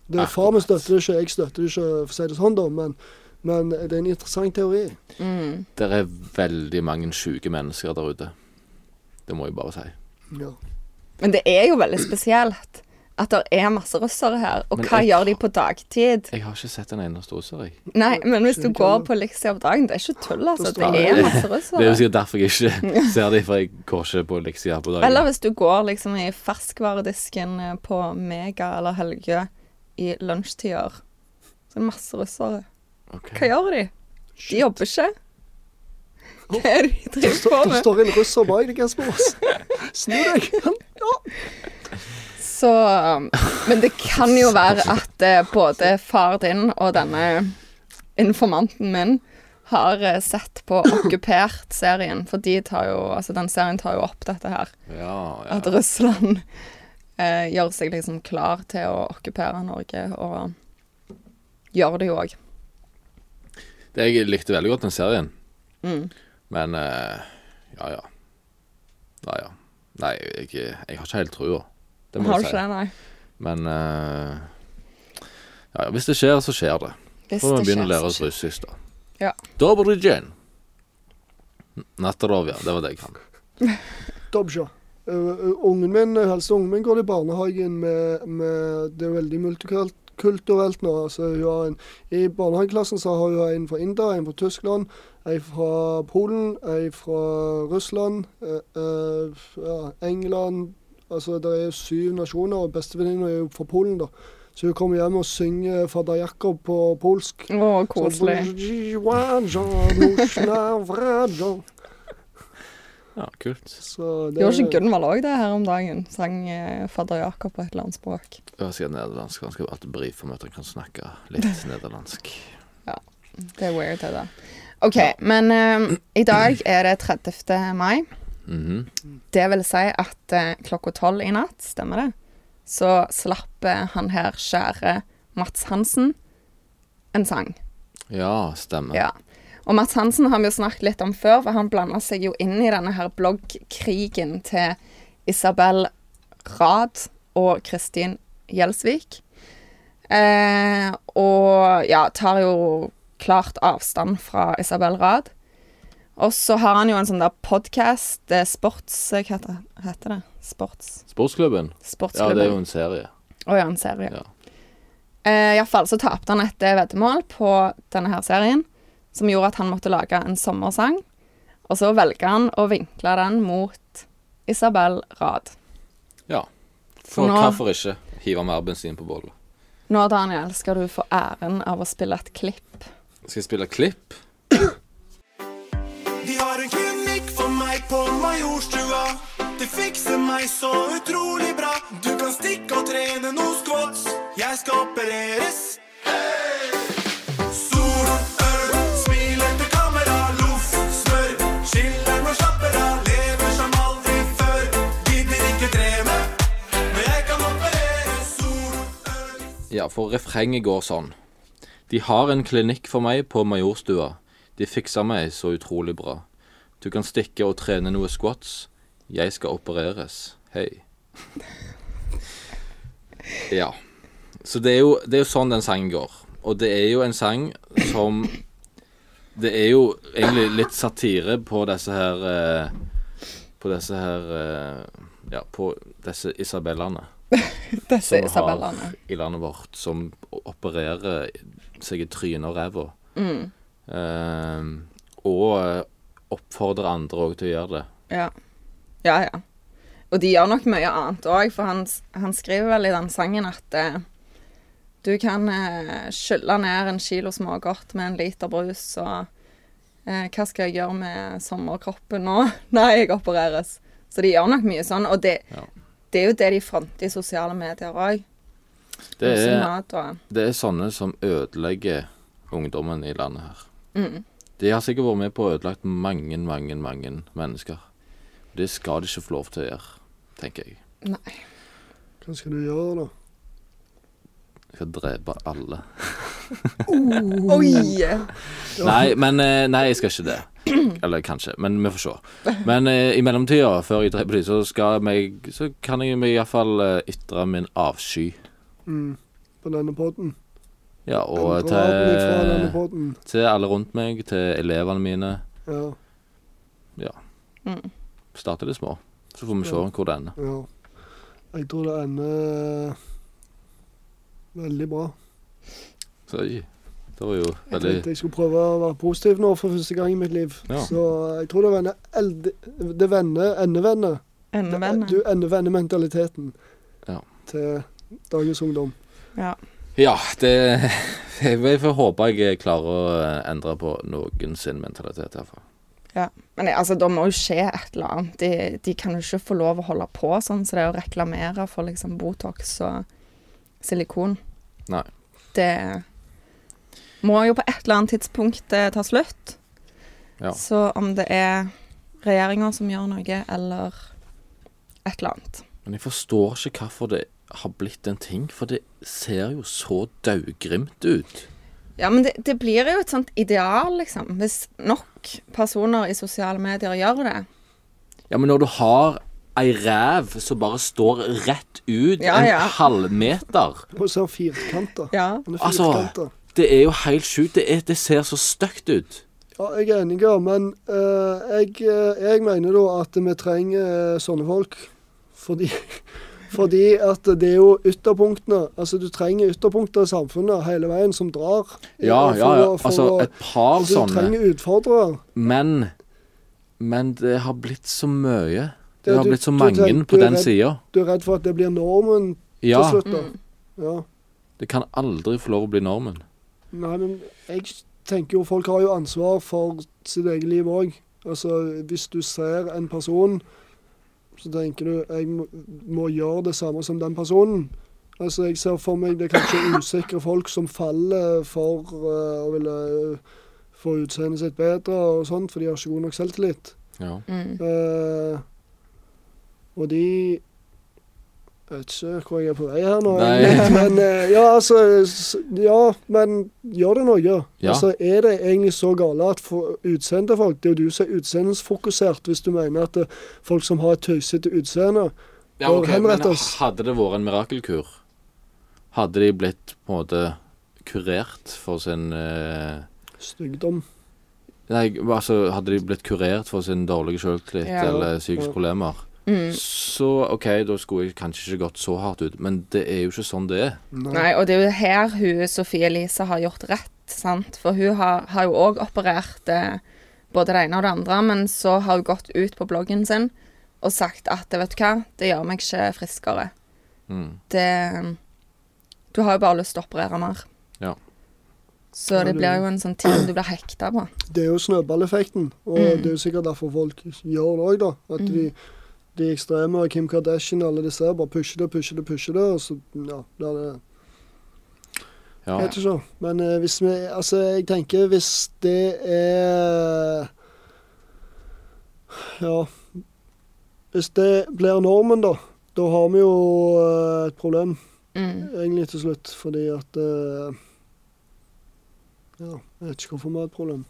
Det er Akkurat. Far min støtter det ikke, jeg støtter det ikke, for å si det sånn, da, men, men det er en interessant teori. Mm. Det er veldig mange sjuke mennesker der ute. Det må jeg bare si. Ja. Men det er jo veldig spesielt at det er masse russere her. Og Men hva jeg- gjør de på dagtid? Jeg har ikke sett en eneste russer, jeg. Nei, men hvis du Skjønner går ikke. på Elixia på dagen, det er ikke tull, altså. Det står er det. masse Det er jo russere. sikkert derfor jeg ikke ser dem, for jeg går ikke på leksia på dagen. Eller hvis du går liksom i ferskvaredisken eh, på Mega eller Helge i lunsjtider. Så er det masse russere. Ok. Hva gjør de? De jobber ikke. Hva er det de Det driver på står, det med? står en russer bak deg, Kasper. Snu deg! Så um, Men det kan jo være at eh, både far din og denne informanten min har eh, sett på Okkupert-serien, for de tar jo, altså den serien tar jo opp dette her. Ja, ja. At Russland eh, gjør seg liksom klar til å okkupere Norge, og gjør det jo òg. Det, jeg likte veldig godt den serien, Mm. men eh, ja, ja. Nei, ja. Nei, jeg, jeg har ikke helt trua. Det må Har du jeg ikke si. det, nei? Men eh, ja, ja, hvis det skjer, så skjer det. Hvis Så må det vi begynne å skjer, lære så oss russisk, da. Ja. Dobrogen. Natterov, ja. Det var det jeg kan. Dobsja. Eh, eh, ungen min, eh, Eldste ungen min går i barnehagen med, med Det er veldig multikulturelt nå. Så hun har en, I barnehageklassen så har hun en fra India, en fra Tyskland, en fra Polen, en fra Russland, eh, eh, ja, England Altså det er syv nasjoner, og bestevenninna er jo fra Polen, da. Så hun kommer hjem og synger Fader Jakob på polsk. Å, Så- koselig. Ja, kult. Så det- Gjorde ikke Gunvald òg det her om dagen? Sang eh, fadder Jakob på et eller annet språk. Jeg skal nederlandsk. Han skal alltid brife med at han kan snakke litt nederlandsk. Det er weird, det der. OK, men eh, i dag er det 30. mai. Mhm. Det vil si at eh, klokka tolv i natt, stemmer det, så slapp eh, han her kjære Mats Hansen en sang. Ja, stemmer. Ja. Og Mats Hansen har vi jo snakket litt om før, for han blanda seg jo inn i denne her bloggkrigen til Isabel Rad og Kristin Gjelsvik. Eh, og ja, tar jo klart avstand fra Isabel Rad. Og så har han jo en sånn der podkast, sports... eh, Hva heter det? heter det? Sports... Sportsklubben? Ja, Sportsklubben. det er jo en serie. Å ja, en serie. Ja. Eh, Iallfall så tapte han et eh, veddemål på denne her serien, som gjorde at han måtte lage en sommersang. Og så velger han å vinkle den mot Isabel Rad. Ja. Så For nå- hvorfor ikke hive mer bensin på bålet? Nå, Daniel, skal du få æren av å spille et klipp. Skal jeg spille klipp? De har en klinikk for meg på Majorstua. De fikser meg så utrolig bra. Du kan stikke og trene noe squats. Jeg skal opereres. Sol, øl, smiler til kamera. Loff, smør. Chiller'n og slapper av. Lever som aldri før. Gidder ikke trene, men jeg kan operere. Sol, øl Ja, for refrenget går sånn. De har en klinikk for meg på Majorstua. De fikser meg så utrolig bra. Du kan stikke og trene noe squats. Jeg skal opereres. Hei. Ja. Så det er, jo, det er jo sånn den sangen går. Og det er jo en sang som Det er jo egentlig litt satire på disse her eh, På disse her eh, Ja, på disse isabellene Disse som vi Isabellene. har i landet vårt, som opererer seg i trynet og ræva. Mm. Eh, og eh, oppfordrer andre òg til å gjøre det. Ja. ja, ja. Og de gjør nok mye annet òg, for han, han skriver vel i den sangen at eh, du kan eh, skylle ned en kilo smågodt med en liter brus, og eh, hva skal jeg gjøre med sommerkroppen nå? Nei, jeg opereres. Så de gjør nok mye sånn, og det, Ja. det er jo det de fronter i sosiale medier òg. Det er, og, det er sånne som ødelegger ungdommen i landet her. De har sikkert vært med på å ødelagt mange, mange, mange mennesker. Det skal de ikke få lov til å gjøre, tenker jeg. nei. Hva skal du gjøre, da? Jeg skal drepe alle. Uhuh. Oi! Nei, men eh, Nei, jeg skal ikke det. Eller kanskje, men vi får se. Men eh, i mellomtida, før jeg dreper dem, så, skal meg, så kan jeg meg iallfall eh, ytre min avsky. Mm. På denne podden. Ja, og eh, Kameraten ifra denne til, podden. til alle rundt meg, til elevene mine. Ja, Mm. Starte litt små. Så får vi se hvor det ender. ja. Jeg tror det ender eh, veldig bra. Så oi, det var jo Jeg veldig tenkte jeg skulle prøve å være positiv nå for første gang i mitt liv. Ja. Så eh, jeg tror det vender eld... Det vender endevender. Endevenner. Du endevender mentaliteten Ja. til dagens ungdom. Ja. Ja, det Jeg jeg får håpe jeg klarer å eh, endre på noen sin mentalitet, iallfall. Ja. Men altså, da må jo skje et eller annet. De, de kan jo ikke få lov å holde på sånn, så det å reklamere for liksom Botox og silikon, Nei. det må jo på et eller annet tidspunkt eh, ta slutt. Ja. Så om det er regjeringa som gjør noe, eller et eller annet. Men jeg forstår ikke hvorfor det har blitt en ting, for det ser jo så daugrimt ut. Ja, men det, det blir jo et sånt ideal, liksom. Hvis nok personer i sosiale medier gjør det. Ja, men når du har ei ræv som bare står rett ut Ja, ja. en halvmeter Og så er han firkanta. Ja. Han er Altså, firkanta. det er jo helt sjukt. Det, er- det ser så stygt ut. Ja, jeg er enig, men eh, jeg, eh, jeg mener da at vi trenger eh, sånne folk. Fordi, fordi at det er jo ytterpunktene. Altså, du trenger ytterpunkter i samfunnet hele veien som drar. Ja, ja, ja. For å- for Altså, å- et par altså, Du sånne. trenger utfordrere. Men Men det har blitt så mye. Det Ja, har du- blitt så du mange tenker- på du den redd- sida. Du er redd for at det blir normen Ja. til slutt, da. Mm. Ja. Det kan aldri få lov å bli normen. Nei, men jeg tenker jo folk har jo ansvar for sitt eget liv òg. Altså, hvis du ser en person, så tenker du jeg må, må gjøre det samme som den personen. Altså, jeg ser for meg det er kanskje usikre folk som faller for eh, å ville få utseendet sitt bedre og sånt, for de har ikke god nok selvtillit. Ja. Mm. Eh, og de Jeg vet ikke hvor jeg er på vei her nå. Nei. egentlig, Men eh, ja, altså s- Ja, men gjør det noe. Ja. Altså, er det egentlig så gale at for utseendet til folk Det er jo du som er utseendesfokusert hvis du mener at eh, folk som har et tøysete utseende Ja, Og ok, men henrett oss. hadde det vært en mirakelkur, hadde de blitt på en måte kurert for sin eh, Stygdom. Nei, altså hadde de blitt kurert for sin dårlige selvtillit Ja. eller psykiske Ja. problemer, Mm. så OK, da skulle jeg kanskje ikke gått så hardt ut, men det er jo ikke sånn det er. Nei, og det er jo her hun Sofie Elise har gjort rett, sant. For hun har, har jo òg operert eh, både det ene og det andre, men så har hun gått ut på bloggen sin og sagt at vet du hva, det gjør meg ikke friskere. Mm. Det Du har jo bare lyst til å operere mer. Ja. Så det blir jo en sånn ting du blir hekta på. Det er jo snøballeffekten, og Mm. det er jo sikkert derfor folk gjør det òg, da. At Mm. de, de ekstreme og Kim Kardashian og alle disse her bare pusher det, pusher det, pusher det, og så ja, blir det Ja. Jeg vet ikke. Men eh, hvis vi Altså, jeg tenker hvis det er Ja. Hvis det blir normen, da, da har vi jo eh, et problem Mm. egentlig til slutt, fordi at eh, Ja, jeg vet ikke hvorfor vi har et problem.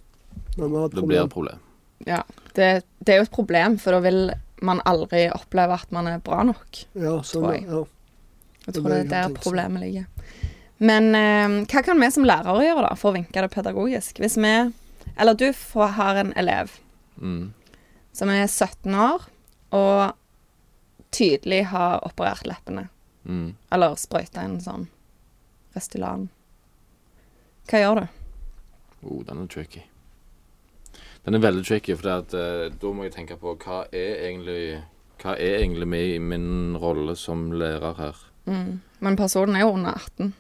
Men vi har et Det blir problem. et problem. Det, det er jo et problem, for da vil man aldri oppleve at man er bra nok. Ja, sånn, tror jeg. ja. Jeg Det tror er det er det jeg har der tenkt. problemet ligger. Men eh, hva kan vi som lærere gjøre da, for å vinke det pedagogisk? Hvis vi, eller du får, har en elev Mm. som er 17 år og tydelig har operert leppene, Mm. eller sprøyta en sånn Restylan. Hva gjør du? Oh, den er tricky. Den er veldig tricky, for at, eh, da må jeg tenke på hva er egentlig Hva er egentlig mi- min rolle som lærer her? Mm. Men personen er jo under 18.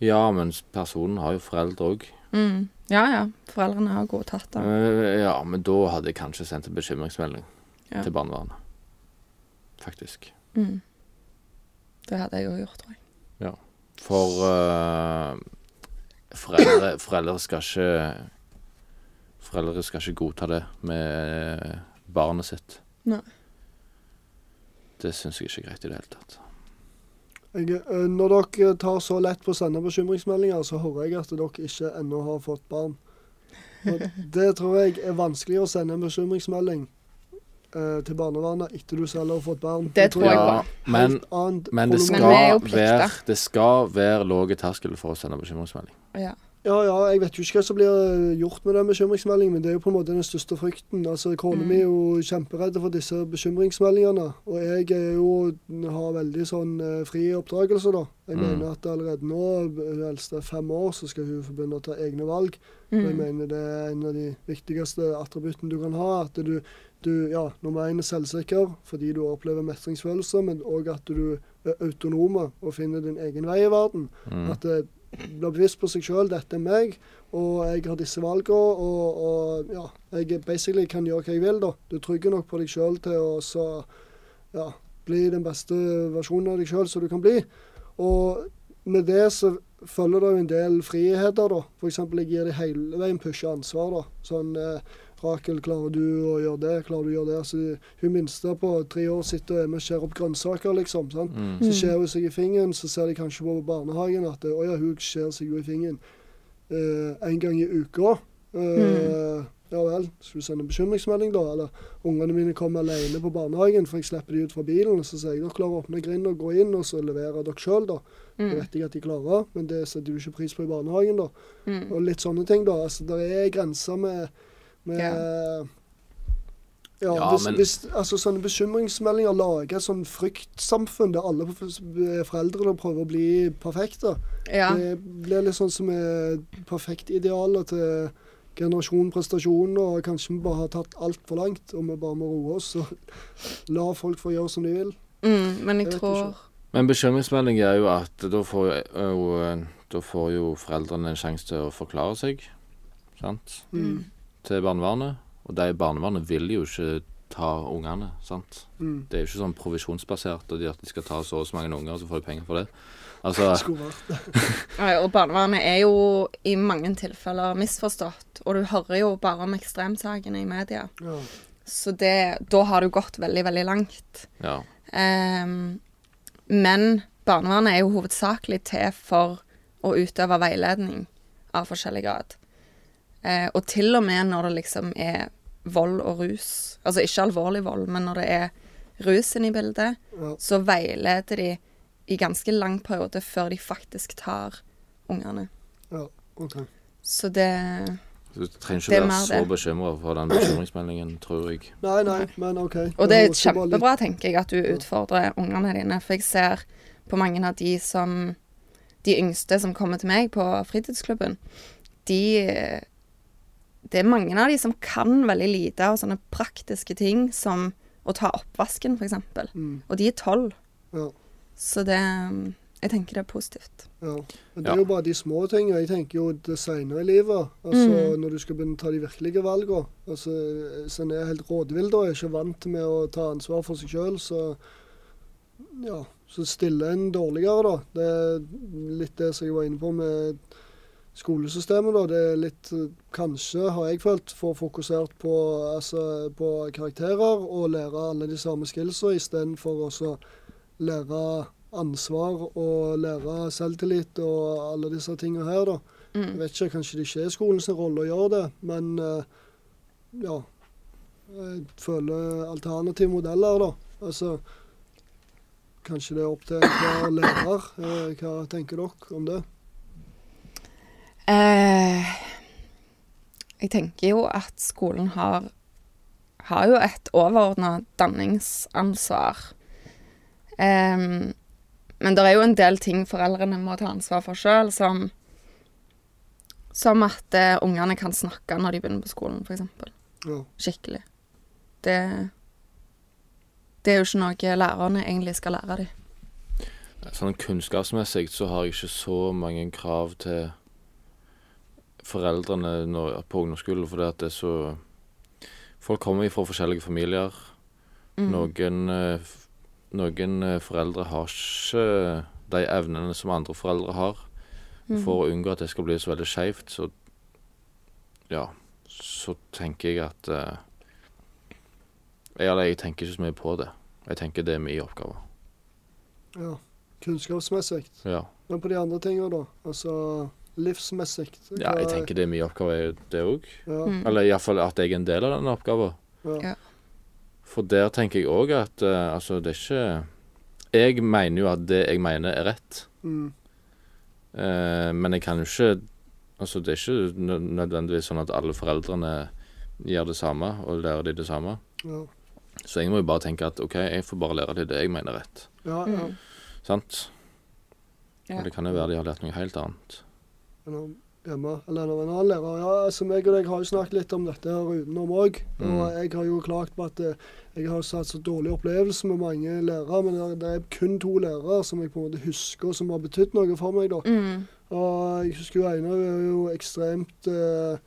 Ja, men s- personen har jo foreldre òg. Mm. Ja ja, foreldrene har gode tatt av. Ja, men da hadde jeg kanskje sendt en bekymringsmelding Ja. til barnevernet. Faktisk. Mm. Det hadde jeg jo gjort, tror jeg. For eh, foreldre, foreldre skal ikke Foreldre skal ikke godta det med barnet sitt. Nei. Det syns jeg ikke er greit i det hele tatt. Jeg, eh, når dere tar så lett på å sende bekymringsmeldinger, så hører jeg at dere ikke ennå har fått barn. Og det tror jeg er vanskelig å sende en bekymringsmelding eh, til barnevernet etter du selv har fått barn. Det tror jeg Ja, på. men, men det Men vi er skal jo plikta. være Det skal være lav terskel for å sende bekymringsmelding. Ja. Ja, ja, jeg vet jo ikke hva som blir gjort med den bekymringsmeldingen, men det er jo på en måte den største frykten. Altså, Kona Mm. mi er jo kjemperedd for disse bekymringsmeldingene, og jeg er jo, har veldig sånn eh, fri oppdragelse, da. Jeg Mm. mener at allerede nå, hun eldste er fem år, så skal hun forbegynne å ta egne valg. Og Jeg Mm. mener det er en av de viktigste attributtene du kan ha. At du, du ja, nummer én er selvsikker fordi du opplever mestringsfølelse, men òg at du er autonome og finner din egen vei i verden. Mm. At du blir bevisst på seg sjøl. Dette er meg, og jeg har disse valgene. Og, og ja, jeg basically kan gjøre hva jeg vil, da. Du er trygg nok på deg sjøl til å så ja, bli den beste versjonen av deg sjøl som du kan bli. Og med det så følger det jo en del friheter, da. F.eks. jeg gir deg hele veien pushe ansvar, da. Sånn eh, Rakel, klarer du å gjøre det? Klarer du å gjøre det? Altså, hun minste på tre år sitter og er med og skjærer opp grønnsaker, liksom. sant? Mm. Så Mm. skjærer hun seg i fingeren, så ser de kanskje på barnehagen at å ja, hun skjærer seg jo i fingeren eh, en gang i uka. Eh, Ja vel, skal du sende bekymringsmelding da? Eller ungene mine kommer alene på barnehagen, for jeg slipper de ut fra bilen. Så sier jeg dere klarer å åpne grinden og gå inn, og så leverer dere sjøl, da. Det Mm. vet jeg at de klarer, men det setter du ikke pris på i barnehagen, da. Mm. Og litt sånne ting, da. Altså, det er grenser med Med, Ja. ja. Ja, hvis, men- hvis, altså Sånne bekymringsmeldinger lager et sånn fryktsamfunn der alle f- eh, foreldrene prøver å bli perfekte. Ja. Det blir litt sånn som er perfektidealet til generasjon prestasjon, og kanskje vi bare har tatt altfor langt, og vi bare må roe oss og la folk få gjøre som de vil. Mm, men Jeg jeg vet tror Men bekymringsmelding er jo at da får jo, eh, da får jo foreldrene en sjanse til å forklare seg, sant, Mm. til barnevernet. Og de i barnevernet vil jo ikke ta ungene, sant. Mm. Det er jo ikke sånn provisjonsbasert og de at de skal ta så og så mange unger, og så får de penger for det. Altså, Skulle vært Ja, Og barnevernet er jo i mange tilfeller misforstått, og du hører jo bare om ekstremsakene i media. ja. Så det, da har du gått veldig, veldig langt. ja. Ehm, men barnevernet er jo hovedsakelig til for å utøve veiledning av forskjellig grad. Eh, og til og med når det liksom er vold og rus, altså ikke alvorlig vold, men når det er rus inne i bildet, Ja. så veileder de i ganske lang periode før de faktisk tar ungene. ja. OK. Så det Du trenger Det ikke er være mer så det. bekymra for den bekymringsmeldingen, tror jeg. Nei, nei, men OK. Og det er høres jo bare litt- kjempebra, tenker jeg, at du utfordrer ungene dine. For jeg ser på mange av de som De yngste som kommer til meg på fritidsklubben, de Det er mange av de som kan veldig lite av sånne praktiske ting som å ta oppvasken, f.eks. Mm, Og de er tolv. Ja. Så det Jeg tenker det er positivt. ja. Men det Ja. er jo bare de små tingene. Jeg tenker jo det senere i livet. Altså når du skal begynne å ta de virkelige valgene. Altså, så en er helt rådvill da, er ikke vant med å ta ansvar for seg sjøl, så ja. Så stiller en dårligere, da. Det er litt det som jeg var inne på med skolesystemet, da. Det er litt eh, Kanskje, har jeg følt, for fokusert på, altså, på karakterer og lære alle de samme skillsa istedenfor å så lære ansvar og lære selvtillit og alle disse tingene her, da. Jeg Mm. vet ikke, kanskje det ikke er skolens rolle å gjøre det, men eh, ja. Jeg føler alternative modeller, da. Altså Kanskje det er opp til hver lærer. Eh, Hva tenker dere om det? Eh, jeg tenker jo at skolen har, har jo et overordna danningsansvar. Em, men det er jo en del ting foreldrene må ta ansvar for sjøl, som, som at eh, ungene kan snakke når de begynner på skolen, f.eks. Ja. Skikkelig. Det, det er jo ikke noe lærerne egentlig skal lære dem. Sånn kunnskapsmessig så har jeg ikke så mange krav til foreldrene når, på ungdomsskolen, fordi at det er så Folk kommer fra forskjellige familier. Mm. Noen, eh, f- noen eh, foreldre har ikke de evnene som andre foreldre har. Mm. For å unngå at det skal bli så veldig skeivt, så Ja, så tenker jeg at eh, jeg, Eller jeg tenker ikke så mye på det. Jeg tenker det er min oppgave. ja. Kunnskapsmessig. Ja. Men på de andre tingene, da? Altså livsmessig. Ja, jeg tenker det er min oppgave, det òg. ja, Mm. Eller iallfall at jeg er en del av den oppgaven. ja, Ja. For der tenker jeg òg at eh, altså, det er ikke Jeg mener jo at det jeg mener, er rett. mm, Eh, men jeg kan jo ikke Altså, det er ikke nø- nødvendigvis sånn at alle foreldrene gjør det samme og lærer de det samme. ja. Så jeg må jo bare tenke at OK, jeg får bare lære de det jeg mener er rett. ja, ja. Mm. Sant? Ja. Og det kan jo være de har lært noe helt annet. en av- hjemme, eller en av en annen lærer. Ja, altså meg og deg har jo snakket litt om dette her utenom òg. Og Mm. jeg har jo klagt på at eh, jeg har hatt så dårlig opplevelse med mange lærere, men det er- det er kun to lærere som jeg på en måte husker, som har betydd noe for meg, da. Mm. Og jeg husker jo Einar er jo ekstremt eh,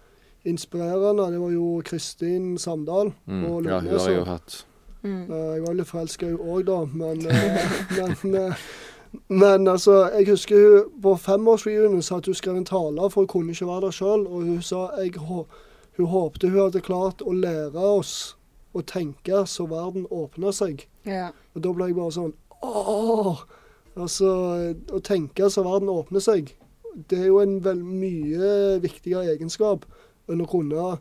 inspirerende. Det var jo Kristin Samdal. Mm. Og Ja, hun har jeg jo Løknes. hatt. Mm. Eh, Jeg var litt forelska i henne òg, da, men, eh, men eh, Men altså, jeg husker hun på femårsreunion sa at hun skrev en tale, for hun kunne ikke være der sjøl. Og hun sa jeg, hå- hun håpte hun hadde klart å lære oss å tenke så verden åpna seg. Ja. Og da ble jeg bare sånn Åh! Altså, å tenke så verden åpner seg, det er jo en vel mye viktigere egenskap enn å kunne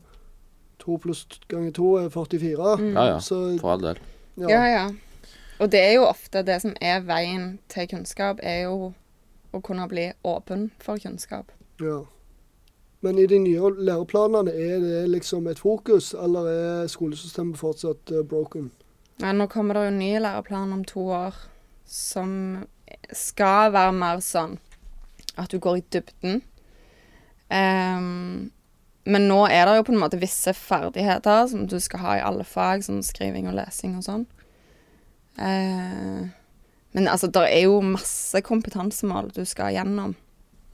to pluss ganger to er 44. Mm. Ja, ja. Så For all del. Ja, ja. Og det er jo ofte det som er veien til kunnskap, er jo å kunne bli åpen for kunnskap. Ja. Men i de nye læreplanene, er det liksom et fokus, eller er skolesystemet fortsatt eh, broken? Ja, nå kommer det jo ny læreplan om to år som skal være mer sånn at du går i dybden. Ehm, men nå er det jo på en måte visse ferdigheter som du skal ha i alle fag, som skriving og lesing og sånn. Eh, men altså, det er jo masse kompetansemål du skal gjennom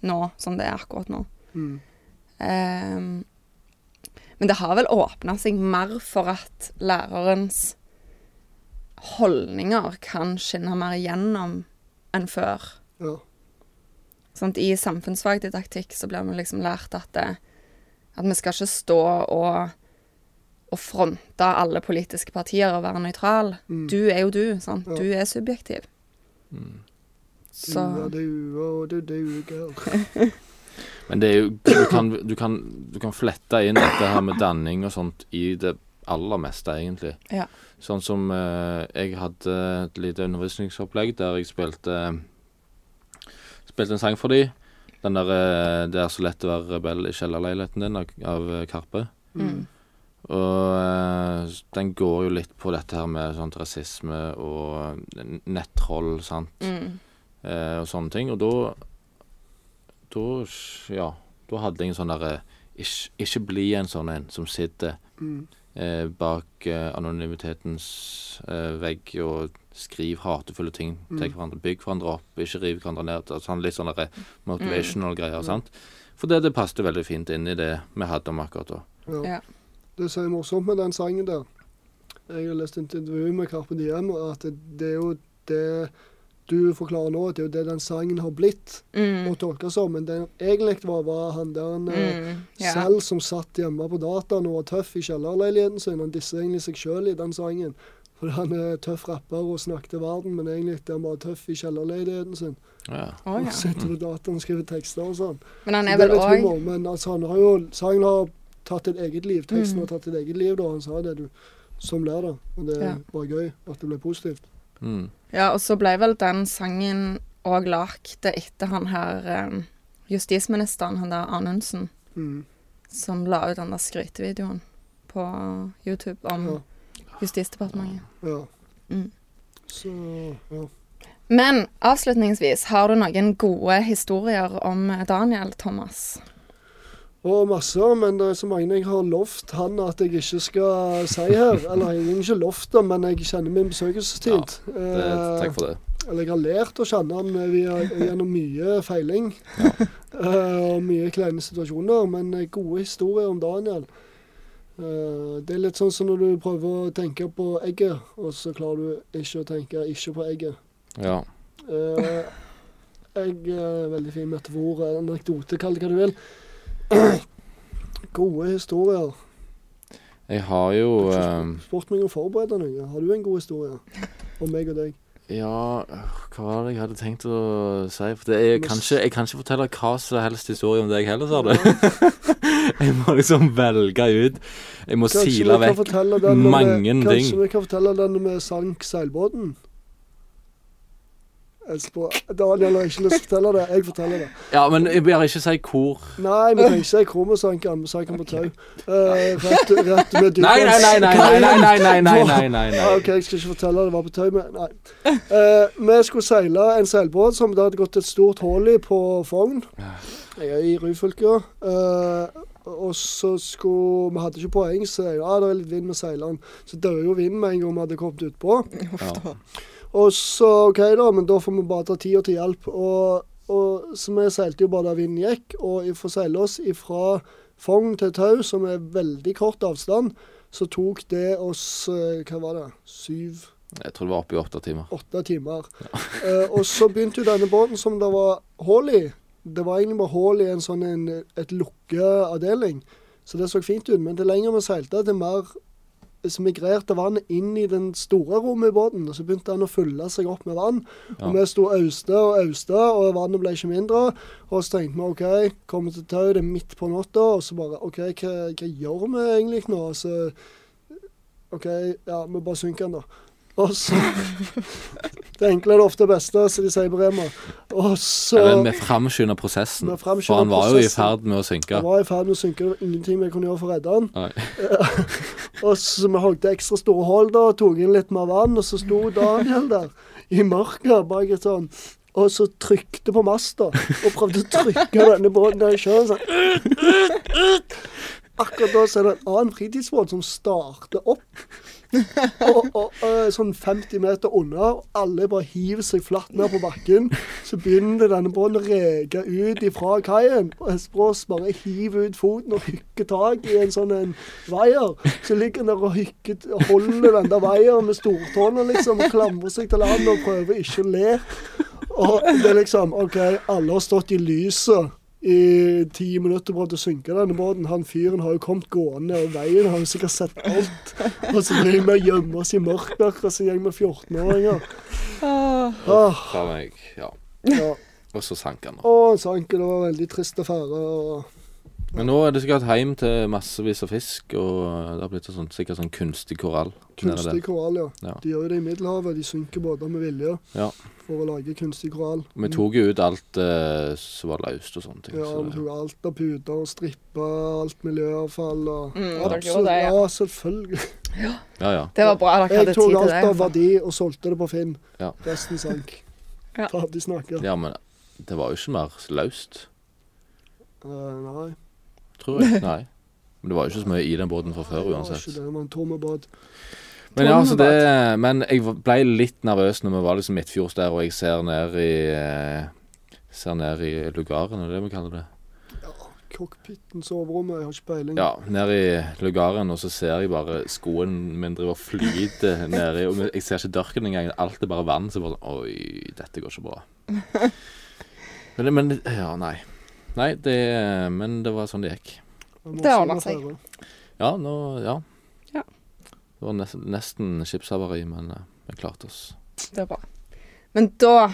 nå, som det er akkurat nå. Mm. Ehm, men det har vel åpna seg mer for at lærerens holdninger kan skinne mer igjennom enn før. Ja. Sant? I samfunnsfagdidaktikk så blir vi liksom lært at, det, at vi skal ikke stå og, og fronte alle politiske partier og være nøytral. Mm. Du er jo du, sant? Ja. Du er subjektiv. Mm. Så Mm, Ja, det er jo å, det, det er jo ikke her. Men det er jo, du, kan, du, kan, du kan flette inn dette her med danning og sånt i det aller meste, egentlig. Ja. Sånn som eh, jeg hadde et lite undervisningsopplegg der jeg spilte Spilte en sang for de. Den der eh, 'Det er så lett å være rebell i kjellerleiligheten din' av, av eh, Karpe. mm. Og eh, den går jo litt på dette her med sånt rasisme og n- nettroll, sant. Mm. eh, og sånne ting. Og da Da s- ja, da hadde jeg en sånn derre ikke, ikke bli en sånn en som sitter Mm. eh, bak eh, anonymitetens eh, vegg og skriver hatefulle ting til Mm. hverandre. Bygg hverandre opp, ikke riv hverandre ned. Altså, sånn, litt sånn derre motivational greier. sant? For det, det passet veldig fint inn i det vi hadde om akkurat da. Ja. Ja. Det som er morsomt med den sangen der Jeg har lest et intervju med Carpe Diem, og at det, det er jo det du forklarer nå, at det er jo det den sangen har blitt Mm. og tolka som. Men den egentlig var, var han der han eh, Mm. Ja. selv som satt hjemme på dataen og var tøff i kjellerleiligheten sin. Han disser egentlig seg sjøl i den sangen. For han er tøff rapper og snakket til verden, men egentlig er han bare tøff i kjellerleiligheten sin. Ja. Å, Og ja. sitter på dataen og skriver tekster og sånn. Men han Så er det er vel litt òg humor, men altså, han har jo, sangen har tatt et eget liv. Teksten Mm. har tatt et eget liv, da. Han sa det, du. Som lærer. Og det Ja. var gøy at det ble positivt. Mm. Ja, og så ble vel den sangen òg lagd etter han her eh, justisministeren, han der Anundsen, Mm. som la ut den der skrytevideoen på YouTube om Ja. Justisdepartementet. Ja. Mm. Så ja. Men avslutningsvis, har du noen gode historier om Daniel Thomas? Og masse, men det er så mange jeg har lovt han at jeg ikke skal si her. Eller jeg har ikke lovt det, men jeg kjenner min besøkelsestid. Eh, Det, takk for det. Eller jeg har lært å kjenne han via, gjennom mye feiling eh, og mye kleine situasjoner, men eh, gode historier om Daniel. Eh, det er litt sånn som når du prøver å tenke på egget, og så klarer du ikke å tenke ikke på egget. Ja. Eh, jeg eh, Veldig fin metafor, eh, anekdote, kall det hva du vil. gode historier. Jeg har jo Du har eh, ikke spurt meg om å forberede noe. Har du en god historie om meg og deg? Ja, øh, hva var det jeg hadde tenkt å si? For det er, jeg, kan ikke, jeg kan ikke fortelle hva som helst historie om deg heller, sa du. jeg må liksom velge ut. Jeg må Kanskje sile vi kan vekk. fortelle den når vi- mange ting. Kanskje vi kan fortelle den når vi sank seilbåten? Jeg spør- Daniel har ikke lyst til å fortelle det. Jeg forteller det. Ja, men jeg bør ikke si hvor. Nei, vi trenger ikke si hvor vi sank, men vi sank den på tau. Eh, rett, rett med dypet. Nei, nei, nei, nei, nei, nei, nei, nei, nei, nei, nei, Ja, Ah, OK, nei. jeg skal ikke fortelle det var på tau, men nei. Eh, vi skulle seile en seilbåt som det hadde gått et stort hull i på Fogn. Jeg er i Ryfylke. eh, og så skulle Vi hadde ikke poeng, så jeg, ja, det er litt vind med seileren. Så døde jo vinden med en gang vi hadde kommet utpå. Ja. Og så OK, da, men da får vi bare ta tida til hjelp. Og, og så vi seilte jo bare der vinden gikk, og for å seile oss ifra Fogn til Tau, som er veldig kort avstand, så tok det oss eh, Hva var det? Syv? Jeg tror det var oppe i åtte timer. åtte timer. Eh, og så begynte jo denne båten som det var hull i. Det var egentlig bare hull i en sånn en, et lukkeavdeling. Så det så fint ut. Men det lenger vi seilte, det mer så migrerte vannet inn i den store rommet i båten. Og så begynte den å fylle seg opp med vann. Ja. Og vi sto auste og auste, og vannet ble ikke mindre. Og så tenkte vi OK, kommer til tau, det er midt på natta. Og så bare OK, hva, hva gjør vi egentlig nå? Så OK, ja, vi bare synker den, da. Og så Det enkle er det ofte beste, som de sier på Rema. Og så Eller vi framskynder prosessen. Vi framskynder For han var jo i prosessen. ferd med å synke. Han var i ferd med å synke, det var ingenting vi kunne gjøre for å redde han. Nei. Og så vi hogde ekstra store hull da, og tok inn litt mer vann, og så sto Daniel der i mørket bak et sånn og så trykte på masta og prøvde å trykke denne båten der i sjøen. Sånn. Akkurat da så er det en annen fritidsbåt som starter opp. Og, og, og sånn 50 meter unna, og alle bare hiver seg flatt ned på bakken. Så begynner denne båten å reke ut ifra kaien. Og Espros bare hiver ut foten og hykker tak i en sånn en vaier. Så ligger han der og hykker, holder den der vaieren med stortåna, liksom. Og klamrer seg til land og prøver ikke å le. Og det er liksom OK, alle har stått i lyset i ti minutter og prøvd å synke denne båten. Han fyren har jo kommet gående nedover veien, har jo sikkert sett alt. Og så driver vi og gjemmer oss i mørket, akkurat som en gjeng med 14-åringer. Åh, Fra meg, ja. ja. Og så sank han. da. Og han sank, og det var en veldig trist affære. Og Men nå er det sikkert hjem til massevis av fisk, og det har blitt sånn, sikkert sånn kunstig korall. nede der. kunstig koral, ja. Ja. De gjør jo det i Middelhavet. De synker båter med vilje Ja. for å lage kunstig koral. Vi tok jo ut alt eh, som var løst og sånne ting. Mm. Ja, så vi det- tok alt av puter og stripper, alt miljøavfall og Mm, dere gjorde Absolutt. det, ja. Ja, selvfølgelig. ja, ja. Det var bra dere hadde Jeg tid tok til alt av det. verdi og solgte det på Finn. Ja. Resten sank. Ja. Ferdig snakka. ja, men det var jo ikke mer løst, Eh, nei. tror jeg. Nei. Men det var jo ikke så mye i den båten fra Det før var uansett. ikke det, det var en tom båt. Men ja, altså det Men jeg var- ble litt nervøs når vi var liksom midtfjords der, og jeg ser ned i eh, Ser ned i lugaren, er det det vi kaller det? Cockpiten, soverommet, jeg har ikke peiling. Ja, ned i lugaren, og så ser jeg bare skoen min driver og flyter nedi. Og jeg ser ikke dørken engang. Alt er bare vann. Så bare sånn Oi, dette går ikke bra. Men, det- men Ja, nei. Nei, det Men det var sånn det gikk. må Det også ordner seg. være. Ja, nå Ja. Ja. Det var nesten, nesten skipshavari, men eh, vi klarte oss. Det er bra. Men da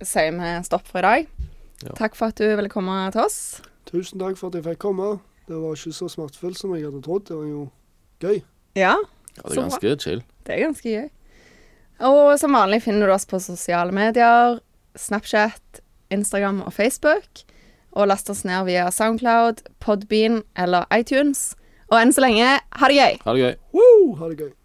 sier vi stopp for i dag. Ja. Takk for at du ville komme til oss. Tusen takk for at jeg fikk komme. Det var ikke så smertefullt som jeg hadde trodd. Det var jo gøy. Ja, Ja, det er Så bra. ganske chill. det er ganske gøy. Og som vanlig finner du oss på sosiale medier, Snapchat, Instagram og Facebook. Og last oss ned via Soundcloud, Podbean eller iTunes. Og enn så lenge, ha det gøy! Ha det gøy. Woo! Ha det gøy.